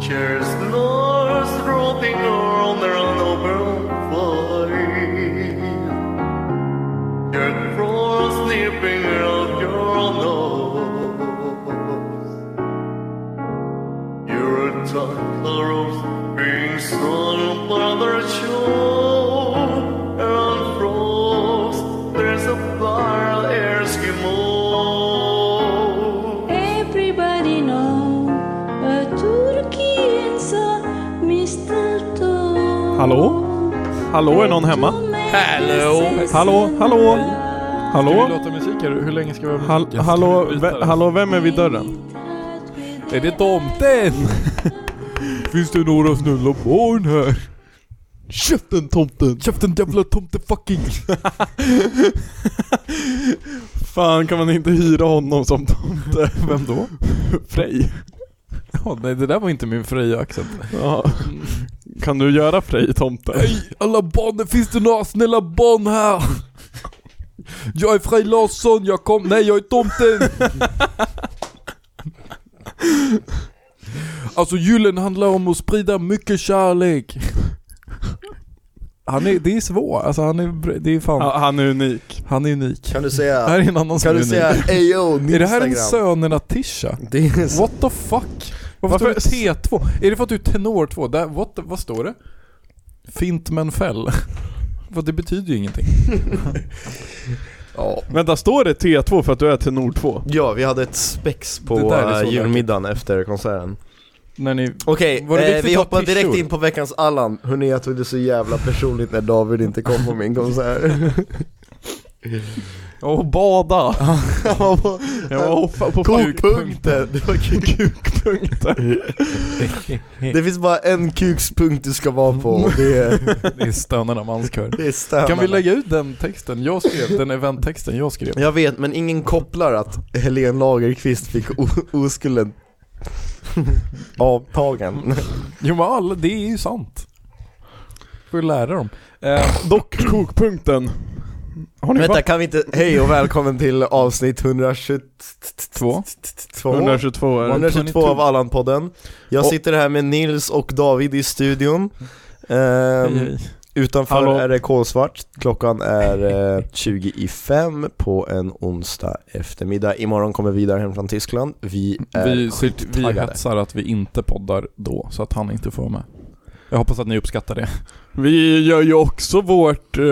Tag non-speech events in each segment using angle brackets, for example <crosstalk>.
Teachers, nor dropping on their no profile. Your cross slipping out your nose. Your tongue rose being stolen by their show. And frost, there's a fire Eskimo. Everybody know a turkey is a mistletoe. Hallå? Hallå, är någon hemma? Hallå? Hallå, hallå? Ska vi Hallå? låta musik här? Hur länge ska vi ha Hall- hallå, ve- hallå, vem är vid dörren? Är det <laughs> tomten? Finns det några snälla barn här? Käften tomten! Käften jävla tomte fucking! Fan, kan man inte hyra honom som tomte? <laughs> Vem då? Frej? <laughs> Ja, nej, det där var inte min Freja accent. Ja. Kan du göra Frej tomte? alla barn, finns det några snälla barn här? Jag är Frej Larsson, jag kom, nej jag är tomten! Alltså julen handlar om att sprida mycket kärlek. Han är, det är svårt, alltså han är, det är fan, Ja, han är unik. han är unik. Kan du Det här säga, är en annan som kan är du unik. säga ayo, Är det här en Instagram? sönerna Tisha? Det är så. What the fuck? Varför, Varför- står det T2? Är det för att du är tenor 2? Där, what, the- vad står det? Fint men fäll. <laughs> Vad det betyder ju ingenting. Ja. Vänta, står det T2 för att du är till Nord 2? ja, vi hade ett spex Det på där är så eh, julmiddagen efter konserten När ni... Okej, Var det eh, viktigt vi att ha hoppar direkt tishor? in på veckans Allan Hörni jag tog det så jävla personligt när David inte kom på min konsert <laughs> Och bada! Ah, Jag var hoppa på Kokpunkten! Det var kuk- kukpunkter. Det finns bara en kukspunkt du ska vara på, det är, Det är stönarna manskör. det är stönarna. Kan vi lägga ut den texten jag skrev? Den eventtexten jag skrev. Jag vet, men ingen kopplar att Helene Lagerqvist fick o- <laughs> oskulden avtagen Jo men alla, det är ju sant. Får ju lära dem. Eh, Dock kokpunkten. Har ni Vänta, varit kan vi inte, hej och välkommen till avsnitt 122 två. 122 är det. 122 av Allan-podden Jag Och- sitter här med Nils och David i studion Ehm, Hej, hej. Utanför Hallå. är det kolsvart, klockan är eh, 20 i fem på en onsdag eftermiddag Imorgon kommer vi där hem från Tyskland, vi är Vi, sitter, vi skittaggade. hetsar att vi inte poddar då, så att han inte får vara med. Jag hoppas att ni uppskattar det. Vi gör ju också vårt eh,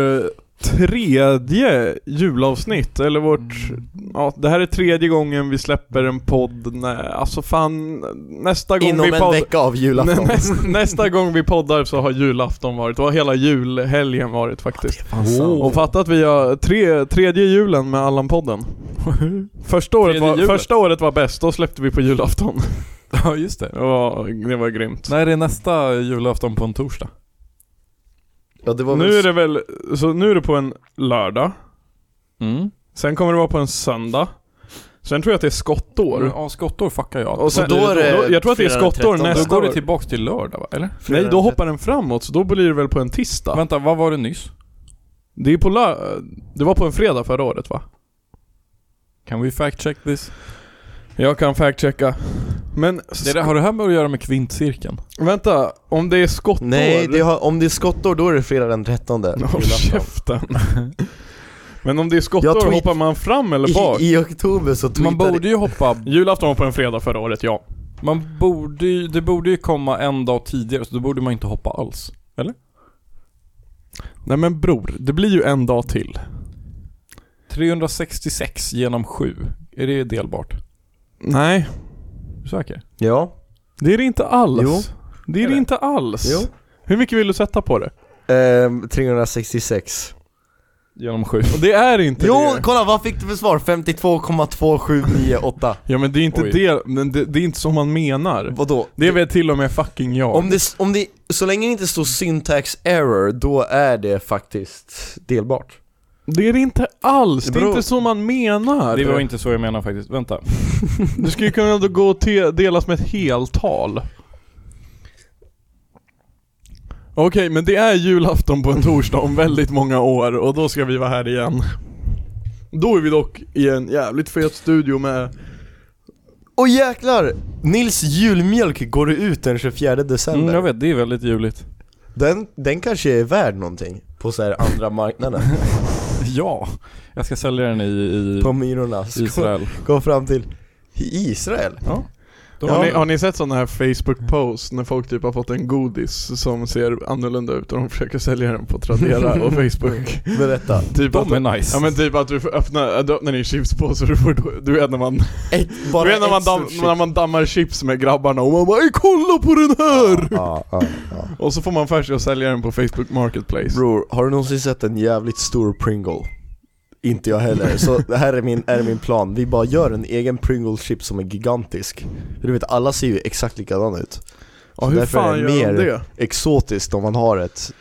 tredje julavsnitt, eller vårt... Mm. Ja, det här är tredje gången vi släpper en podd, nä, alltså fan, nästa gång Inom vi en poddar... <laughs> vecka av julafton Nästa, nästa gång vi poddar så har julafton varit, och har hela julhelgen varit faktiskt. Oh. Och fatta att vi har tre, tredje julen med <laughs> Allan-podden. Första året, Tredje var, julen. första året var bäst, då släppte vi på julafton. <laughs> <laughs> Ja, just det. Det var, det var grymt. När är nästa julafton på en torsdag? Ja det var Nu väl- är det väl, så nu är det på en lördag, Mm. sen kommer det vara på en söndag, sen tror jag att det är skottår. Ja, skottår fuckar jag. Och sen, då är det jag tror att det är skottår 413. nästa då går det år. tillbaks till lördag va? Eller? Nej, då hoppar den framåt, så då blir det väl på en tisdag. Vänta, vad var det nyss? Det är på lö- Det var på en fredag förra året va? Can we fact check this? Jag kan fact-checka. Men, Det där, har det här med att göra med kvintcirkeln? vänta, om det är skottår... Nej, det har, om det är skottår då är det fredag den <laughs> 13 Håll julafton. käften. Men om det är skottår, Jag tweet- hoppar man fram eller bak? I, I oktober så tweetade Man borde ju hoppa... Julafton var på en fredag förra året, ja. Man borde ju, det borde ju komma en dag tidigare, så då borde man inte hoppa alls. Nej men bror, det blir ju en dag till. 366 genom 7. Är det delbart? Nej, Är du säker? Ja, det är det inte alls. Jo. Det är det inte alls. Jo. Hur mycket vill du sätta på det? ehm, 366 Genom 7. Och det är inte Jo, det. kolla vad fick du för svar? 52,2798 Ja men det är inte Oj. det, men det, det är inte som man menar. Vadå? Det vet till och med fucking jag. Om det, om det, så länge det inte står syntax error, då är det faktiskt delbart Det är det inte alls, det är Bro. inte så man menar. Det var inte så jag menade faktiskt. Vänta. <laughs> Du skulle ju kunna gå och te- delas med ett heltal. Okej, men det är julafton på en torsdag om väldigt många år och då ska vi vara här igen. Då är vi dock i en jävligt fet studio med Och jäklar! Nils julmjölk går ut den 24 december. Mm, jag vet, det är väldigt juligt. Den, den kanske är värd någonting på så här andra <laughs> marknaden. <laughs> Ja, jag ska sälja den i, i på Myrorna. Så Kom, Israel. kom fram till I Israel. Då Har, har ni, har ni sett sådana här Facebook-posts när folk typ har fått en godis som ser annorlunda ut och de försöker sälja den på Tradera <laughs> och Facebook? Berätta. Typ att, de är nice. ja men typ att du får öppna, du öppnar din chipspåse och du får, du vet när man, Ett, bara du vet när man, ett damm, stort när man dammar chips med grabbarna och man bara "Ey, kolla på den här! Ja, ja, ja. Och så får man för sig att sälja den på Facebook Marketplace. Bror, har du någonsin sett en jävligt stor Pringle? Inte jag <laughs> heller, så det här är min, är min plan. Vi bara gör en egen Pringle chip som är gigantisk. För Du vet, alla ser ju exakt likadana ut. ja, så hur därför är fan det gör de mer- det? Exotiskt om man har ett.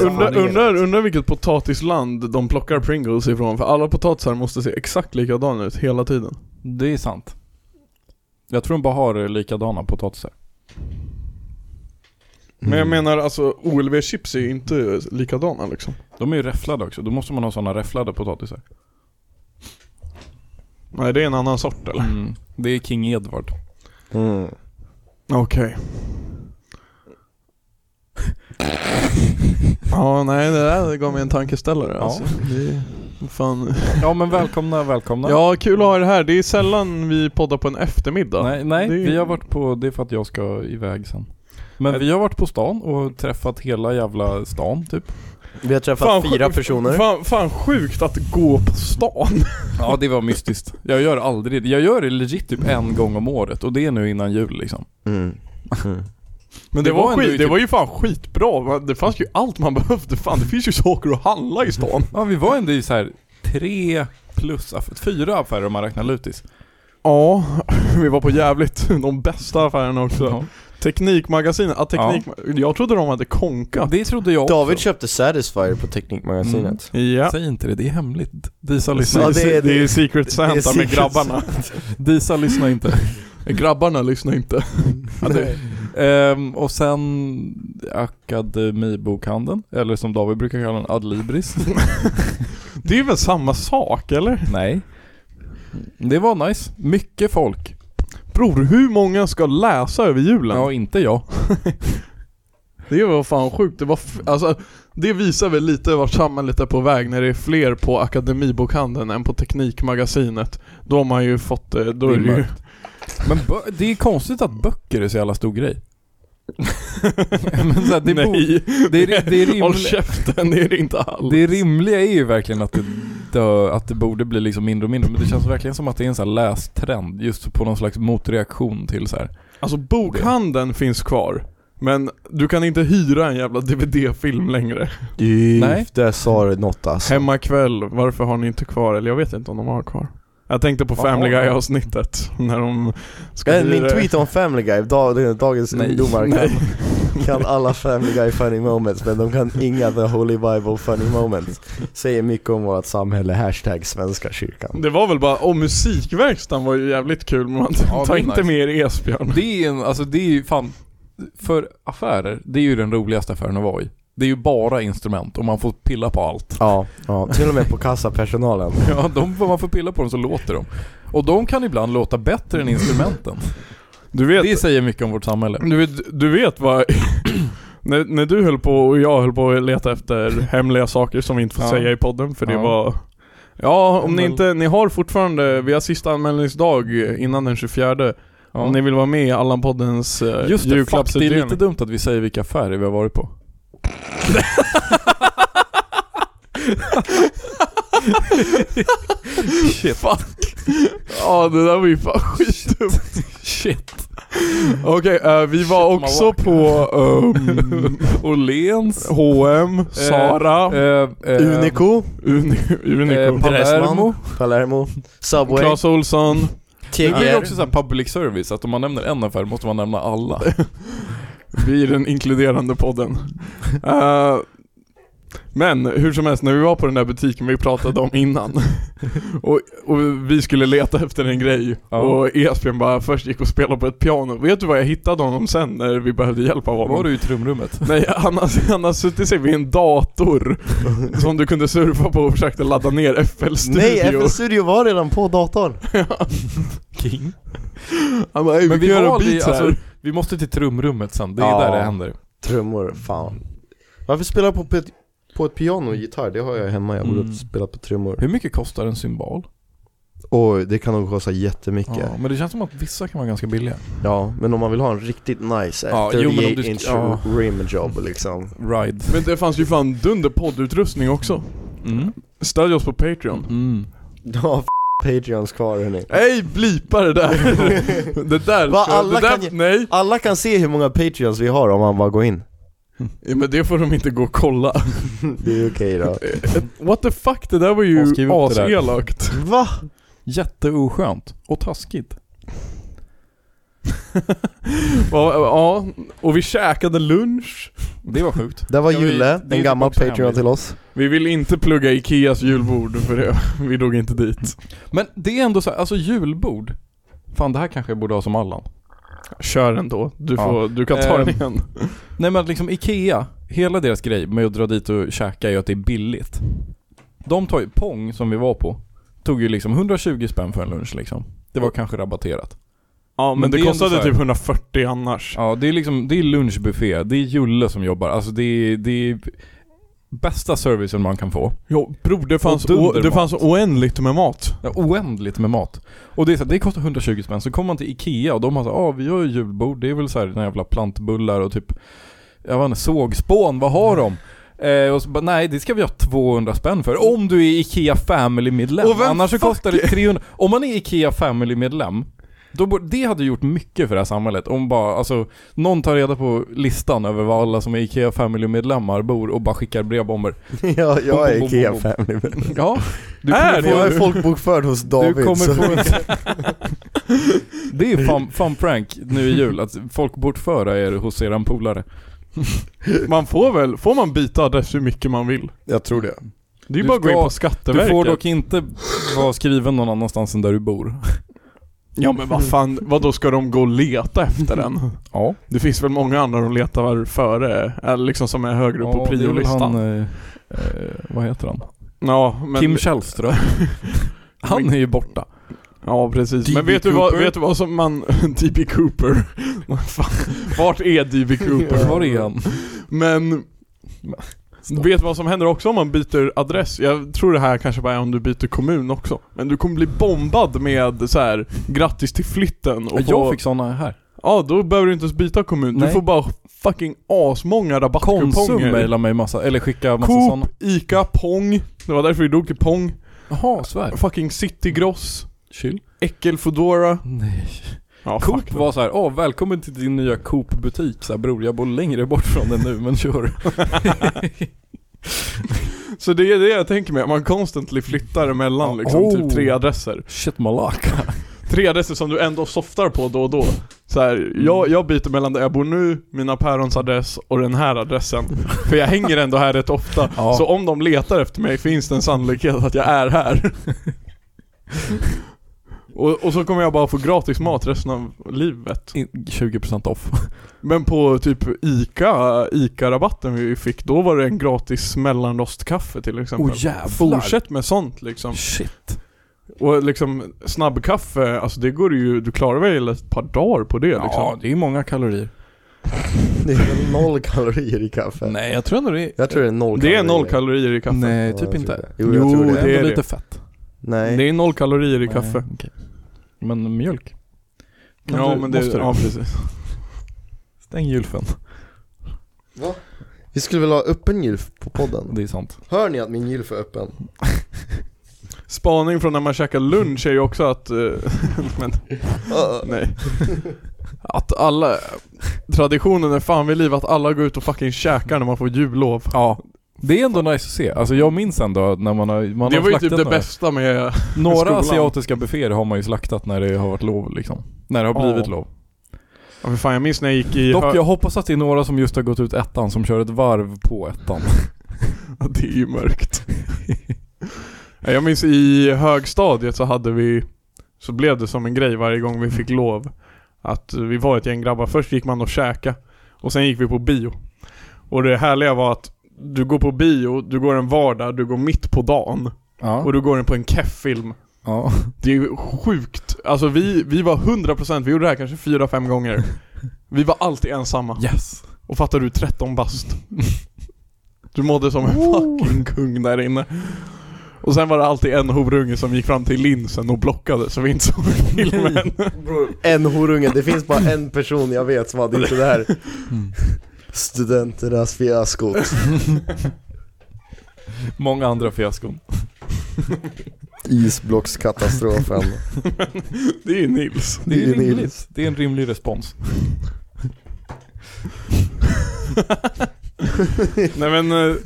Undrar undrar undrar vilket potatisland de plockar Pringles ifrån, för alla potatisar måste se exakt likadana ut hela tiden. Det är sant. Jag tror de bara har eh, likadana potatisar. Men jag Mm. menar alltså, OLV-chips är ju inte likadana liksom. De är ju räfflade också, då måste man ha sådana räfflade potatisar. Nej, det är en annan sort eller? Mm. Det är King Edward. Mm. Okej. <laughs> ja, nej det där gav mig en tankeställare alltså. Det är fan. Ja men välkomna, välkomna. Ja, kul att ha er här. Det är sällan vi poddar på en eftermiddag. Nej, nej Det är- vi har varit på, det är för att jag ska iväg sen. Men vi har varit på stan och träffat hela jävla stan typ. Vi har träffat Fan, fyra sjuk- personer. Fan, fan sjukt att gå på stan. Ja det var mystiskt. Jag gör aldrig det. Jag gör det legit typ en gång om året och det är nu innan jul liksom. Mm. Men det, Det var var, ändå skit, ju det typ- var ju fan skitbra. Va- Det fanns ju allt man <laughs> behövde. Fan, det finns ju saker att handla i stan. Ja vi var ändå i så här tre plus, aff- fyra affärer om man räknar lutis. <laughs> Ja, vi var på jävligt de bästa affärerna också. Ja. Teknikmagasinet, ah, teknik... Jag trodde de hade konkat. Det trodde jag också. David köpte Satisfyer på Teknikmagasinet. Ja. Säg inte det, det är hemligt. Disa Ja, lyssnar, det- det, är, det är Secret det är Santa med Secret grabbarna. <laughs> Disa lyssnar inte. <laughs> grabbarna lyssnar inte. Ja, Mm. det- Ehm, och sen Akademibokhandeln, eller som David brukar kalla den, Adlibris. Det är väl samma sak eller? <laughs> Nej. Det var nice. Mycket folk. Bror, hur många ska läsa över julen? Ja, inte jag. Det var fan sjukt. Det, var f- alltså, det visar väl lite vart samhället är på väg när det är fler på Akademibokhandeln än på Teknikmagasinet. Då har man ju fått... eh, Då Det är är det ju... mörkt. Men bö- det är konstigt att böcker är så jävla stor <laughs> grej. Men så här, det, är bo- det, är, det, <laughs> är Håll rimli- käften, det är det inte alls. det rimliga är ju verkligen att det, dö- att det borde bli liksom mindre och mindre. Men det känns verkligen som att det är en sån här lästrend. Just på någon slags motreaktion till så här. Alltså bokhandeln finns kvar. Men du kan inte hyra en jävla DVD-film längre. Nej. Nej. Där sa du något alltså. Hemma kväll, varför har ni inte kvar? Eller jag vet inte om de har kvar. Jag tänkte på Family Jaha. Eh, Guy-avsnittet. När de ska Men min hyra- tweet om Family Guy, dag, dagens Nej. ungdomar kan, <laughs> kan alla Family Guy funny moments men de kan inga The Holy Bible funny moments. Säger mycket om vårt samhälle, hashtag svenska kyrkan. Det var väl bara, åh musikverkstan var ju jävligt kul men man Ja, det tar är inte nice. med er Esbjörn. Det är en, alltså det är ju fan, för affärer, det är ju den roligaste affären att vara i. Det är ju bara instrument och man får pilla på allt. <laughs> Ja, ja, till och med på kassapersonalen. Ja, de, får- man får pilla på dem så låter de. Och de kan ibland låta bättre än instrumenten. Du vet, Det säger mycket om vårt samhälle. du vet, du vet vad... <clears throat> när, när du höll på och jag höll på att leta efter hemliga saker som vi inte får Ja. säga i podden för det Ja. var... Ja, om ni Men- inte, ni har fortfarande, vi har sista anmälningsdag innan den 24 Ja. Om ni vill vara med i Allan-poddens eh, Just det, fuck, det är julklappsutdelning. lite dumt att vi säger vilka affärer vi har varit på. Shit. Fuck. Ja det där var ju fan skitdumt. Shit. Okej, eh, vi var Shit, man också på um, <laughs> Åhléns. H&M, Sara, Eh, eh, Unico, Uni, Unico, eh, Palermo. Dressman. Palermo, Subway, Claes Olsson. Det Eh, blir TGR. också såhär public service, att om man nämner en affär måste man nämna alla. Vi är den inkluderande <laughs> podden. <laughs> Eh, men hur som helst, när vi var på den där butiken vi pratade om innan Och, och vi skulle leta efter en grej Ja. och Esbjörn bara först gick och spelade på ett piano. Vet du vad jag hittade honom sen när vi behövde hjälp av honom? Var du i trumrummet? Nej, han har, han har suttit sig vid en <laughs> dator som du kunde surfa på och försökte ladda ner FL Studio. Nej, FL Studio var redan på <laughs> datorn. King. Han bara, "Ey, Men vi vi, kan göra valde ju- beats här. alltså, vi måste till trumrummet sen, det är Ja. där det händer. Trummor, fan. Varför spela på, pe- på ett piano och gitarr? Det har jag hemma, jag borde Mm. spela på trummor. Hur mycket kostar en cymbal? Oj, det kan nog kosta jättemycket. Ja, men det känns som att vissa kan vara ganska billiga. Ja, men om man vill ha en riktigt nice Ja, jo, men om du 38 ska- inch ja. rim job liksom. <laughs> Ride. Men det fanns ju fan dunder poddutrustning också. Mm. Stödj oss på Patreon. Mm. Ja, f- Patreons kvar <laughs> hörni. Nej, blipa det där! det där Va, ska- det alla där, kan ju- Nej, Alla kan se hur många Patreons vi har om man bara går in. ja, men det får de inte gå och kolla. Det är okej då. What the fuck, det där var Ja, ju skriv upp det där. aselakt. Va? Jätteoskönt. Och taskigt. <laughs> Ja, ja, och vi käkade lunch. Det var sjukt. Där var Ja, men det- Julle, det är en ju gammal tillbaks Patreon hemligt. till <laughs> oss. Vi vill inte plugga Ikeas julbord för det, vi drog inte dit. Men det är ändå så här, alltså julbord. Fan det här kanske jag borde ha som Allan. Kör ändå, du, Ja. får, du kan ta Ehm, den igen. Nej men liksom Ikea, hela deras grej med att dra dit och käka är ju att det är billigt. De tar ju, Pong som vi var på, tog ju liksom 120 spänn för en lunch liksom. Det var kanske rabatterat. Ja men, men det, det är ändå så kostade här- typ 140 annars. Ja det är liksom, det är lunchbuffé, det är Julle som jobbar, alltså det är, det är bästa servicen man kan få. Ja, bror det fanns, Och dundermat. o- det fanns oändligt med mat. Ja, oändligt med mat. Och det är så här, det kostar 120 spänn, så kommer man till Ikea och de har så här, ah, vi gör ju julbord, det är väl så här några jävla plantbullar och typ, jag vet inte, sågspån, vad har de? Eh, och så bara, nej det ska vi ha 200 spänn för, om du är Ikea Family-medlem. Och vem Annars så fuck- kostar det 300, om man är Ikea Family-medlem, då borde, det hade gjort mycket för det här samhället. Om bara, alltså, någon tar reda på listan över vad alla som är Ikea Family-medlemmar bor och bara skickar brevbomber. ja, jag Bom, bom, är bom, Ikea bom. Family. <laughs> Ja, du Är kommer det? få- Jag är folkbokförd hos David. du kommer så- få en... <laughs> Det är fun, fun prank nu i jul, att folk bortföra er hos eran polare. Man får väl, får man byta adress hur mycket man vill? Jag tror det. Det är Du ju bara att gå in ska- på Du Skatteverket. får dock inte vara skriven någon annanstans än där du bor. Ja men Mm. vad fan, vad då ska de gå och leta efter den? <laughs> Ja, Det finns väl många andra de letar före, eller liksom som är högre upp på det är väl priolistan. Han, eh, eh, vad heter han? Ja, men... Kim Källström. <laughs> Han är ju borta. Ja precis, men DB vet du, vad, Cooper? vet du vad som man... <laughs> DB Cooper. <laughs> Vad fan, Vart är DB Cooper? Var är han? Men... Stopp. Vet du vad som händer också om man byter adress? Jag tror det här kanske bara är om du byter kommun också. Men du kommer bli bombad med så här grattis till flytten och Jag få- fick såna här. Ja, då behöver du inte ens byta kommun. Du Nej. får bara fucking asmånga Konsum rabattkuponger. mejlar mig massa, eller skickar massa Coop, såna. Ica, Pong. Det var därför vi drog till Pong. Jaha, Sverige. Fucking Citygross. Chill. Äckel Foodora. Nej. Ja, Coop fuck var så här, åh välkommen till din nya Coop-butik. Så här, bror jag bor längre bort från den nu men kör. Så det är det jag tänker mig, man constantly flyttar emellan liksom, Oh. typ tre adresser. Shit malaka. Tre adresser som du ändå softar på då och då. Så här, Mm. jag, jag byter mellan där jag bor nu, mina pärons adress och den här adressen. För jag hänger ändå här rätt ofta. Ja. Så om de letar efter mig finns det en sannolikhet att jag är här. <laughs> Och, och så kommer jag bara få gratis mat resten av livet. 20% off. Men på typ ICA, ICA-rabatten vi fick, då var det en gratis mellanrostkaffe till exempel. Åh, jävlar. Fortsätt med sånt liksom. Shit. Och liksom snabbkaffe, alltså det går ju, du klarar väl ett par dagar på det liksom? Ja, det är många kalorier. Det är väl noll kalorier i kaffe. Nej, jag tror ändå det är... Jag tror det är noll det är kalorier. noll kalorier i kaffe. Ja, Nej, jag typ tror inte. det. Jo, jag tror det det. är ändå det. lite fett. Nej. Det är noll kalorier i kaffe. Nej, okej. Men mjölk? Kan Ja du- men det, måste du? ja precis. Stäng gylfen. Vi skulle väl ha öppen gylf på podden? Det är sant. Hör ni att min gylf är öppen? Spaning från när man käkar lunch är ju också att, eh, men Ah. nej. Att alla, traditionen är fan vid liv att alla går ut och fucking käkar när man får jullov. Ja. Det är ändå nice att se. Alltså jag minns ändå när man har... Man det har var ju slaktat typ det några. bästa med, Några skolan. asiatiska bufféer har man ju slaktat när det har varit lov liksom. När det har Ja. blivit lov. ja, för fan jag minns när jag gick i Dock hö- jag hoppas att det är några som just har gått ut <laughs> ettan som kör ett varv på ettan. Ja, Det är ju mörkt. Ja, Jag minns i högstadiet så hade vi, så blev det som en grej varje gång vi fick lov. Att vi var ett gäng grabbar. Först gick man och käka och sen gick vi på bio. Och det härliga var att du går på bio, du går en vardag, du går mitt på dagen Ja. och du går den på en keffilm. ja. Det är ju sjukt. Alltså vi, vi var 100%, vi gjorde det här kanske 4-5 gånger. Vi var alltid ensamma. Yes. Och fattar du, 13 bast. Du mådde som en fucking kung där inne. Och sen var det alltid en horunge som gick fram till linsen och blockade så vi inte såg filmen. En horunge, det finns bara en person jag vet som hade inte det här Studenternas fiasko Många andra fiaskon. Isblockskatastrofen Det är ju Nils. Det är Det är rimligt. rimligt. Det är en rimlig respons. Nej men, eh,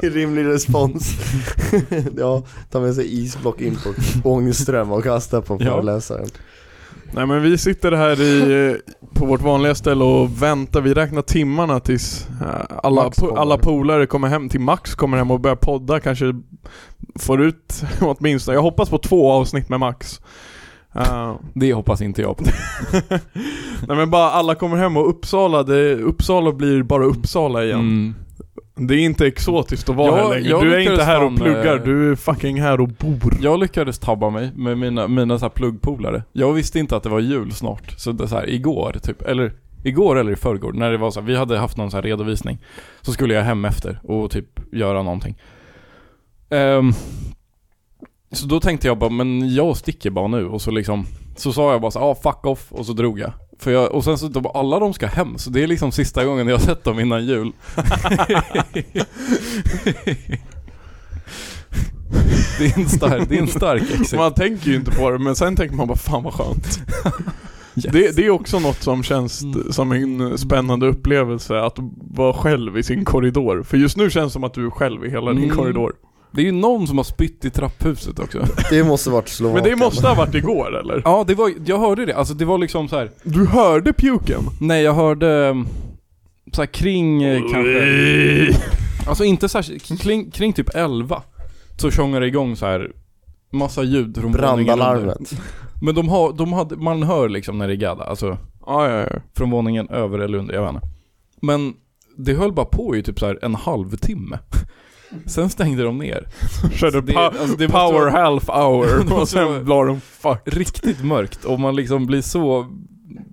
Det är Rimlig respons Ja, ta med sig isblock in på Ångström och kasta på Ja. föreläsaren nej men vi sitter här i, eh, på vårt vanliga ställe och väntar. Vi räknar timmarna tills eh, alla, Max po- kommer. alla polare kommer hem. Till Max kommer hem och börjar podda. Kanske får ut <laughs> åtminstone, jag hoppas på två avsnitt med Max. Eh, Det hoppas inte jag på. <laughs> Nej men bara alla kommer hem och Uppsala, det, Uppsala blir bara Uppsala igen. Mm. Det är inte exotiskt att vara Jag- här längre. jag Du är lyckades inte här och fan, pluggar, eh, du är fucking här och bor. Jag lyckades tabba mig med mina, mina så här pluggpolare. Jag visste inte att det var jul snart. Så det så här, igår typ, eller igår eller i förrgår, när det var så här, vi hade haft någon så här redovisning. Så skulle jag hem efter och typ göra någonting. Ehm, så då tänkte jag bara, men jag sticker bara nu och så liksom Så sa jag bara så ja ah, fuck off och så drog jag. För jag, och sen så de bara, alla de ska hem så det är liksom sista gången jag har sett dem innan jul. <laughs> det är en stark, det är en stark exit. Man tänker ju inte på det, men sen tänker man bara fan vad <laughs> skönt. Det, det är också något som känns Mm. som en spännande upplevelse, att vara själv i sin korridor. För just nu känns det som att du är själv i hela din Mm. korridor. Det är ju någon som har spytt i trapphuset också. Det måste varit Slovakien Men det måste ha varit igår eller? Ja, det var, jag hörde det. Alltså det var liksom så här. Du hörde puken? nej jag hörde mm, så här kring eh, kanske, <laughs> alltså inte så här, kring, kring typ 11 så tjongar det igång så här massa ljud från våningen under. Brandalarmet Men de har, de hade, man hör liksom när det är gadda, alltså Ja, ja, ja. från våningen över eller under, jag vet inte. Men det höll bara på i typ så här en halvtimme. <laughs> Sen stängde de ner. Körde Det- pa- <laughs> alltså, det måste power vara- half <laughs> hour och måste vara- sen la de fuck. riktigt mörkt och man liksom blir så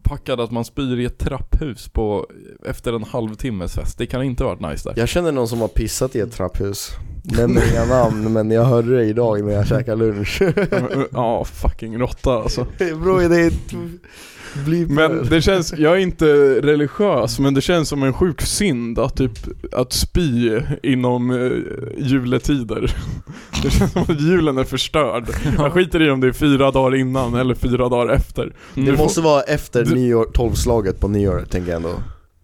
packad att man spyr i ett trapphus på efter en halvtimmes fest. Det kan inte ha varit nice där. Jag känner någon som har pissat i ett trapphus Nämner inga namn men jag hörde det idag när jag <laughs> käkade lunch Ja, fucking råtta alltså. Bror det är ett... Bli Men det känns, jag är inte religiös, men det känns som en sjuk synd att typ, att spy inom eh, juletider. <laughs> Det känns som att julen är förstörd. Jag skiter i om det är fyra dagar innan eller fyra dagar efter. Det Nu måste vara efter du- nyår, tolvslaget på nyår tänker jag ändå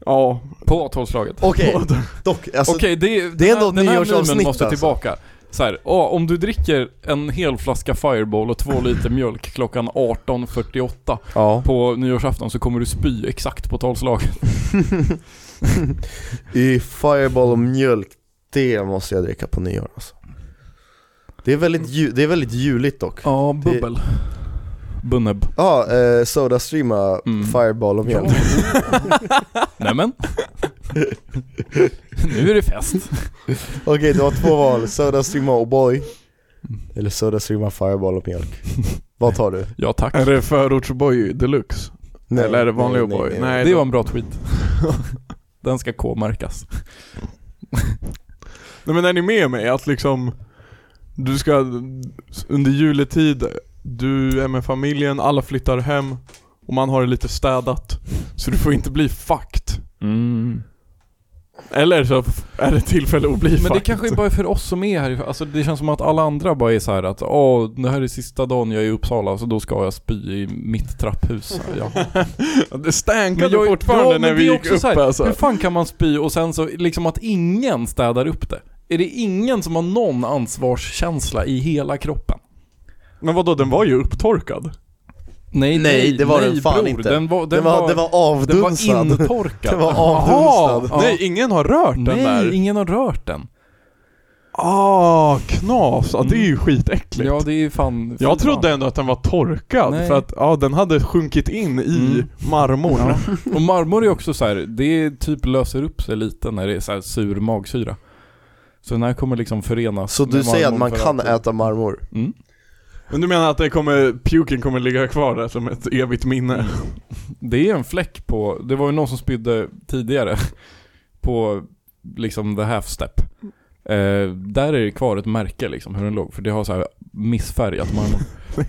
Ja, På tolvslaget. Okej, dock, alltså Okej, det, den det är ändå här- den här nyårsavsnitt, memen måste alltså. tillbaka. Så här, ja, om du dricker en hel flaska Fireball och två liter mjölk klockan 18.48 ja. på nyårsafton så kommer du spy exakt på tolvslaget. i Fireball och mjölk, det måste jag dricka på nyår alltså. Det är väldigt, ju, det är väldigt juligt dock Ja, bubbel. Bunneb. Ja, ah, eh, Sodastreama, Mm. Fireball och mjölk Nämen. nu är det fest. <laughs> Okej, det var två val, Sodastreama O'boy Eller Sodastreama, Fireball och mjölk Vad tar du? Ja, tack. är det förortsboy deluxe? Eller är det vanlig O'boy? Nej, Det då- var en bra tweet. Den ska K-märkas. Nej men är ni med mig? Att liksom Du ska under juletid Du är med familjen, alla flyttar hem Och man har det lite städat Så du får inte bli fucked Mm. Eller så är det tillfälle att bli Men det fucked kanske bara är för oss som är här. Alltså det känns som att alla andra bara är så här att åh, det här är sista dagen jag är i Uppsala så då ska jag spy i mitt trapphus. <laughs> Ja. <laughs> Det stänkade fortfarande Ja, men när vi det är gick också upp så här, alltså Hur fan kan man spy och sen så liksom att ingen städar upp det? Är det ingen som har någon ansvarskänsla i hela kroppen? Men vadå, den var ju upptorkad Nej, Nej, det var den fan inte. Den var, den det, var, var, det den var var avdunsad <laughs> intorkad. Den var Aha! avdunstad. Ja. Nej, ingen har rört den Nej, där ingen har rört den. Ah, knas. Ja, det är ju skitäckligt. Mm. Ja det är ju fan... fy jag fan. trodde ändå att den var torkad Nej. för att ja, den hade sjunkit in i Mm. marmorn. Ja. <laughs> Och marmor är också så här, det typ löser upp sig lite när det är så här sur magsyra. Så den här kommer liksom förenas Så du med säger att marmor man för kan alltid. äta marmor? Mm. Men du menar att det kommer, puken kommer ligga kvar där som ett evigt minne? <laughs> Det är en fläck på, det var ju någon som spydde tidigare <laughs> på liksom the half step. Eh, där är det kvar ett märke liksom hur den låg, för det har så här missfärgat <laughs> marmor.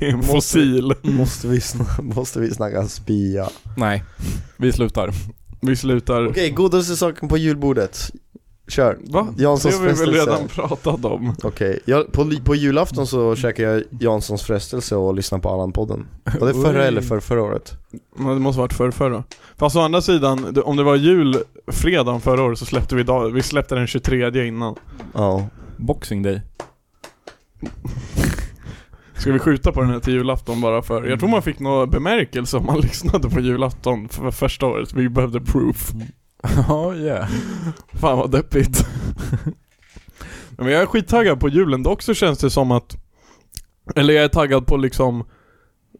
Det är en fossil. Måste, vi sn- <laughs> måste vi snacka spya? Okej, Nej, vi slutar. Vi slutar. godaste saken på julbordet. Kör. Va? Det Janssons har vi väl frestelse. redan pratat om? Okej, jag- på, på julafton så käkade jag Janssons frestelse och lyssnade på Allan-podden. Var det förra Oj. eller för förra året? Men det måste varit förr, förra. Fast å andra sidan, det- om det var jul fredagen förra året så släppte vi, dag, vi släppte den 23 innan. Ja. Boxing <laughs> day. Ska vi skjuta på den här till julafton bara för? Jag tror man fick någon bemärkelse om man <laughs> lyssnade på julafton för första året. Vi behövde proof. Ja, yeah. Fan vad deppigt. <laughs> Men jag är skittaggad på julen dock så känns det som att Eller jag är taggad på liksom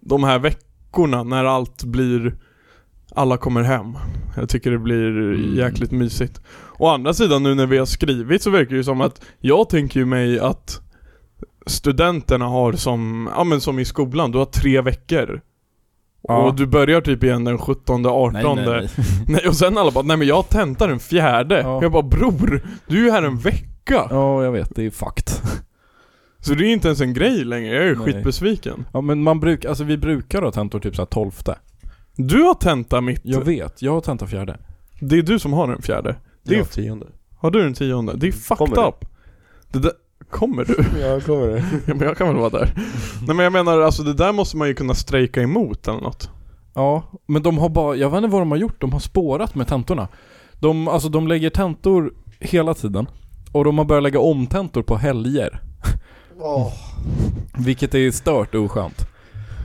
De här veckorna när allt blir Alla kommer hem. Jag tycker det blir Mm. jäkligt mysigt. Å andra sidan nu när vi har skrivit så verkar det ju som att Jag tänker ju mig att Studenterna har som, ja men som i skolan, du har tre veckor. Ja. Och du börjar typ igen den 17, 18 Nej, nej, nej. Nej och sen alla bara, nej men jag tentar den fjärde. Ja. Jag bara bror, du är ju här en vecka. Ja, jag vet. Det är fucked. Så det är inte ens en grej längre, jag är Nej. skitbesviken. Ja, men man brukar, alltså vi brukar ha tentor typ såhär tolfte. Du har tenta mitt. Jag vet, jag har tenta fjärde. Det är du som har den fjärde. Det är, tionde. Har du den tionde? Det är Mm. fucked Kommer du? up. Det där, kommer du? <laughs> Ja, kommer det. Ja, men jag kan väl vara där. nej men jag menar alltså det där måste man ju kunna strejka emot eller något. Ja, men de har bara, jag vet inte vad de har gjort, de har spårat med tentorna. De, alltså de lägger tentor hela tiden. Och de har börjat lägga om tentor på helger. Vilket är stört oskönt.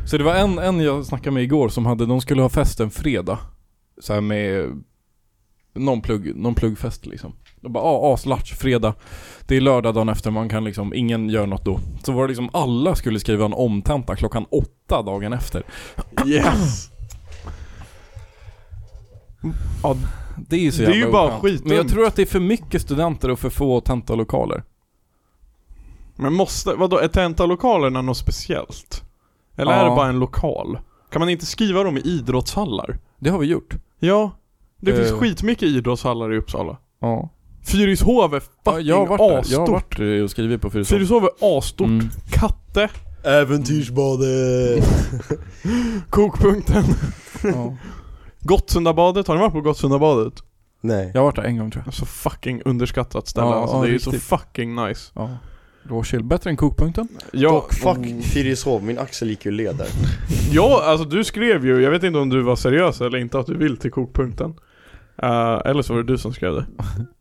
Så det var en, en jag snackade med igår som hade, de skulle ha fest en fredag. Så här med någon, plugg, någon pluggfest liksom. De bara ah, aslatch, fredag. Det är lördag dagen efter, man kan liksom, ingen gör något då. Så var det liksom alla skulle skriva en omtenta klockan åtta dagen efter. Yes! Ja, det är ju så Det är jävla ju bara oskönt. skitdumt. Men jag tror att det är för mycket studenter och för få tentalokaler. Men måste, vadå, är tentalokalerna något speciellt? Eller är Ja. det bara en lokal? Kan man inte skriva dem i idrottshallar? Det har vi gjort. Ja, det finns Eh. skitmycket idrottshallar i Uppsala. Ja. Fyrishov är ja fucking jag har varit där. Jag har asstort. varit där och skrivit på Fyrishov. Fyrishov är asstort. Mm. Katte, Äventyrsbadet! Kokpunkten, <laughs> <laughs> Ja. Gottsundabadet. Har ni varit på Gottsundabadet? Nej. Jag har varit där en gång tror jag. Alltså fucking underskattat ställe. Ja, alltså, ja, det är ju så riktigt. fucking nice. Ja. Råkyl. Bättre än kokpunkten. Jag, Dock, fuck Fyrishov, min axel gick ju led där. ja, alltså du skrev ju, jag vet inte om du var seriös eller inte, att du vill till Kokpunkten. Eh, eller så var det du som skrev det.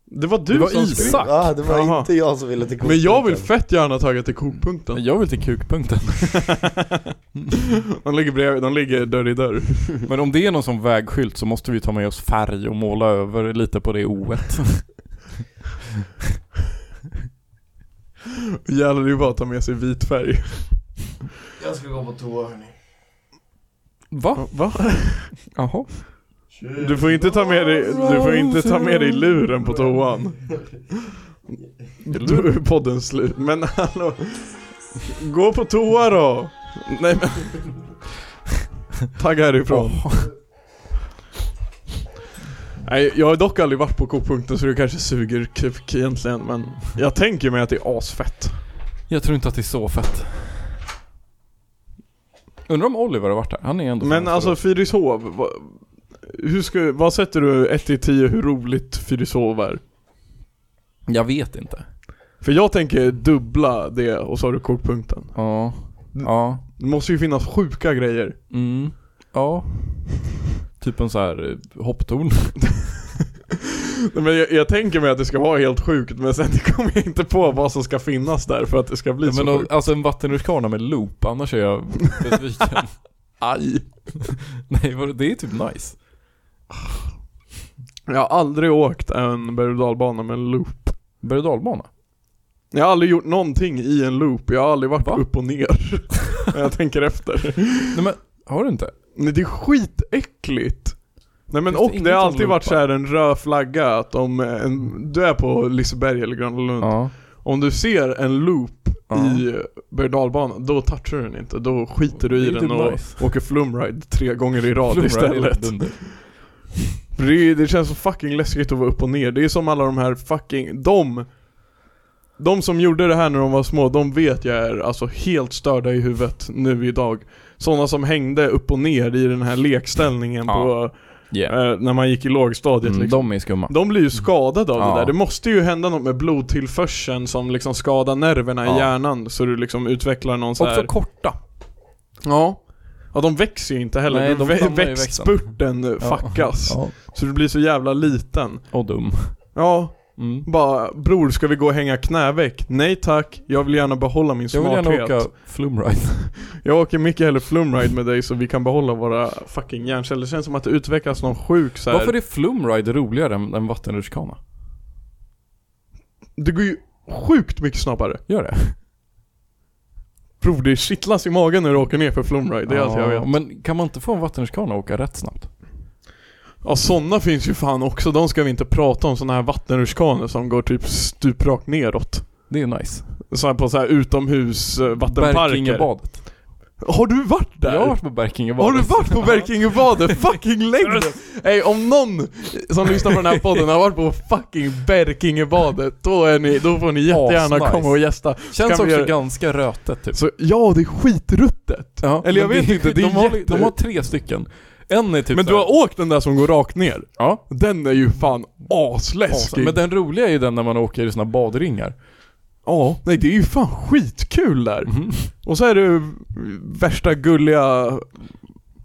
Det var du Det var som skrev. Isak. Tack. Ah, det var Jaha. inte jag som ville till Men jag vill kokpunkten. fett gärna tagga till Kokpunkten. Jag vill till <laughs> kukpunkten. De ligger bredvid, de ligger dörr i dörr. Men om det är någon som vägskylt så måste vi ta med oss färg och måla över lite på det oet. Jävlar det är ju bara att ta med sig vit färg. Jag ska gå på toa hörni. <laughs> Va? Va? Jaha. Du får inte ta med dig, du får inte ta med dig luren på toan. Då är podden slut. Men hallå. Gå på toa då. Nej men. Tagga härifrån. Nej, jag har dock aldrig varit på kokpunkten så det kanske suger kuk egentligen men jag tänker mig att det är asfett. Jag tror inte att det är så fett. Undrar om Oliver har varit där. Han är ändå Men från alltså Fyrishov, vad, hur ska, vad sätter du 1 till 10 hur roligt Fyrishov är? Västerås. Jag vet inte. För jag tänker dubbla det och så har du kokpunkten. Ja. Ja. Det måste ju finnas sjuka grejer. Mm. <laughs> Ja. Typ en så här eh, hopptorn. Nej, Men jag, jag tänker mig att det ska vara helt sjukt men sen <laughs> kommer jag inte på vad som ska finnas där för att det ska bli så Men då, sjukt. alltså en vattenrutschkana med loop, annars är jag <laughs> besviken. Aj. Nej, vad- det är typ nice. Jag har aldrig åkt en berg och dalbana med en loop. Berg och dalbana. Jag har aldrig gjort någonting i en loop, jag har aldrig varit Va? upp och ner. <laughs> När jag tänker efter. Nej men, har du inte? Nej det är skitäckligt. Nej men Finns och det det inget har som alltid varit loopar? såhär en röd flagga att om en, du är på Liseberg eller Gröna Lund, Ja. om du ser en loop Ja. i berg och dalbanan, då touchar du den inte. Då skiter du Det i är den typ och nice. åker flumride tre gånger i rad Flumride istället. är dunder. För Det, är- det känns så fucking läskigt att vara upp och ner, det är som alla de här fucking, de De som gjorde det här när de var små, de vet jag är alltså helt störda i huvudet nu idag Sådana som hängde upp och ner i den här lekställningen på, Yeah. eh, när man gick i lågstadiet Mm, liksom de är skumma. de blir ju skadade av Ja. det där, det måste ju hända något med blodtillförseln som liksom skadar nerverna Ja. i hjärnan så du liksom utvecklar någon så Också här. korta. Ja Ja de växer ju inte heller, Nej, de Vä- stannar i växten. växtspurten eh, fuckas Ja. Så du blir så jävla liten Och dum. Ja, Mm. bara bror ska vi gå och hänga knäveck? Nej tack, jag vill gärna behålla min Jag vill smarthet. gärna åka flumride. Jag åker mycket hellre flumride med dig så vi kan behålla våra fucking hjärnceller. Det känns som att det utvecklas någon sjuk så här. Varför är flumride roligare än, än vattenrutschkana? Det går ju sjukt mycket snabbare. Gör det? Bror det kittlas i magen när du åker ner för flumride, det är allt jag Ja, vet. Men kan man inte få en vattenrutschkana att åka rätt snabbt? Ja sådana finns ju fan också, de ska vi inte prata om. Sådana här vattenrutschkanor som går typ stuprakt neråt. Det är nice. Så här på så här utomhus eh, vattenparker. Berkingebadet. Har du varit där? Jag har varit på Har Berkingebadet. du varit på <laughs> Berkingebadet? fucking längd! Ey, om någon som lyssnar på den här podden har varit på fucking Berkingebadet, då, är ni, då får ni jättegärna Asnice. komma och gästa. Känns Kan också vi göra- ganska rötet typ. Så ja, det är skitruttet. Ja, Eller jag men vet det, inte, det är de, har, jätte- de har tre stycken. En är typ Men så du här- har åkt den där som går rakt ner? Ja. Den är ju fan asläskig. Men den roliga är ju den när man åker i såna badringar. Ja, nej det är ju fan skitkul där. Mm. Mm-hmm. Och så är det värsta gulliga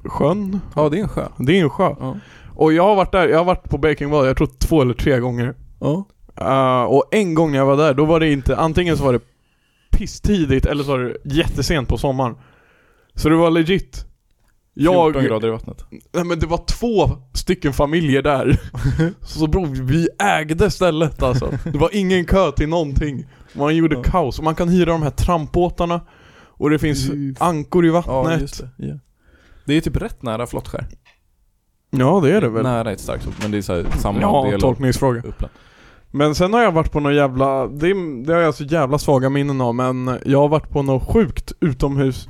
sjön. Ja, det är en sjö. Det är en sjö. Ja. Och jag har varit där, jag har varit på Berkingebadet, jag tror två eller tre gånger. Ja. Eh, och en gång när jag var där, då var det inte, antingen så var det pisstidigt eller så var det jättesent på sommaren. Så det var legit. 14 Jag, grader i vattnet. nej men det var två stycken familjer <laughs> där. så bror, vi ägde stället alltså. Det var ingen kö till någonting. Man gjorde Ja. kaos. Och man kan hyra de här trampbåtarna. Och det finns ankor i Ja, <laughs> vattnet. just det. Ja. Det är typ rätt nära Flottskär. Ja, det är det väl. Nära är ett starkt ord, men det är så här samma Ja, del av tolkningsfråga. Uppland. Men sen har jag varit på någon jävla, det, är- det har jag så jävla svaga minnen av men jag har varit på något sjukt utomhus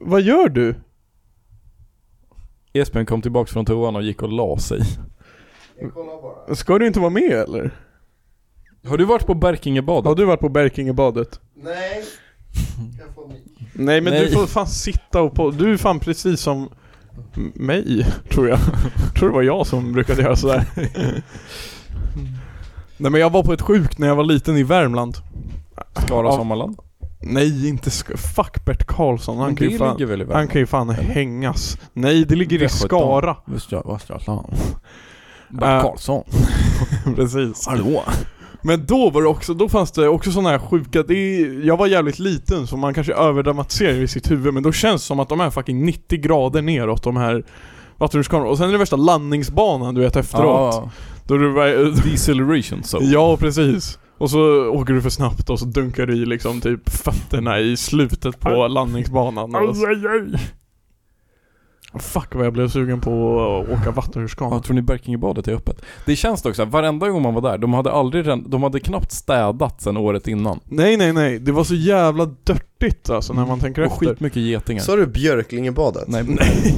Vad gör du? Esbjörn kom tillbaks från toan och gick och la sig. Ska du inte vara med eller? <laughs> Har du varit på Berkingebadet? Har du varit på Berkingebadet? Nej, <laughs> jag får mig. Nej men Nej. du får fan sitta och på, du är fan precis som m- mig, <laughs> tror jag. tror det var jag som brukade göra sådär. <laughs> Nej men jag var på ett sjukt när jag var liten i Värmland. Skara Ja. Sommarland? Nej inte sk- fuck Bert Karlsson, han Men kan det ju fan ligger väl i Han Värmland? kan ju fan hängas. Nej, det ligger i Västgötan. Skara. <laughs> Västra Västerland. Äh. Bert Karlsson. Precis. Hallå? Men då var det också, då fanns det också sådana här sjuka, det är, jag var jävligt liten så man kanske överdramatiserar i sitt huvud men då känns det som att de är fucking 90 grader neråt de här vattenrutschkanorna. Och sen är det värsta landningsbanan du vet efteråt. Ja. Då du bara, <laughs> Deceleration so. ja precis. Och så åker du för snabbt och så dunkar du i liksom typ fötterna i slutet på landningsbanan. Och så- Fuck vad jag blev sugen på att åka vattenrutschkana. Ja, tror ni Berkingebadet är öppet? Det känns dock såhär, varenda gång man var där, de hade aldrig ren- de hade knappt städat sen året innan. Nej nej nej, det var så jävla dörtigt alltså när man tänker Och efter. skitmycket getingar. Sa du Björklingebadet? Nej,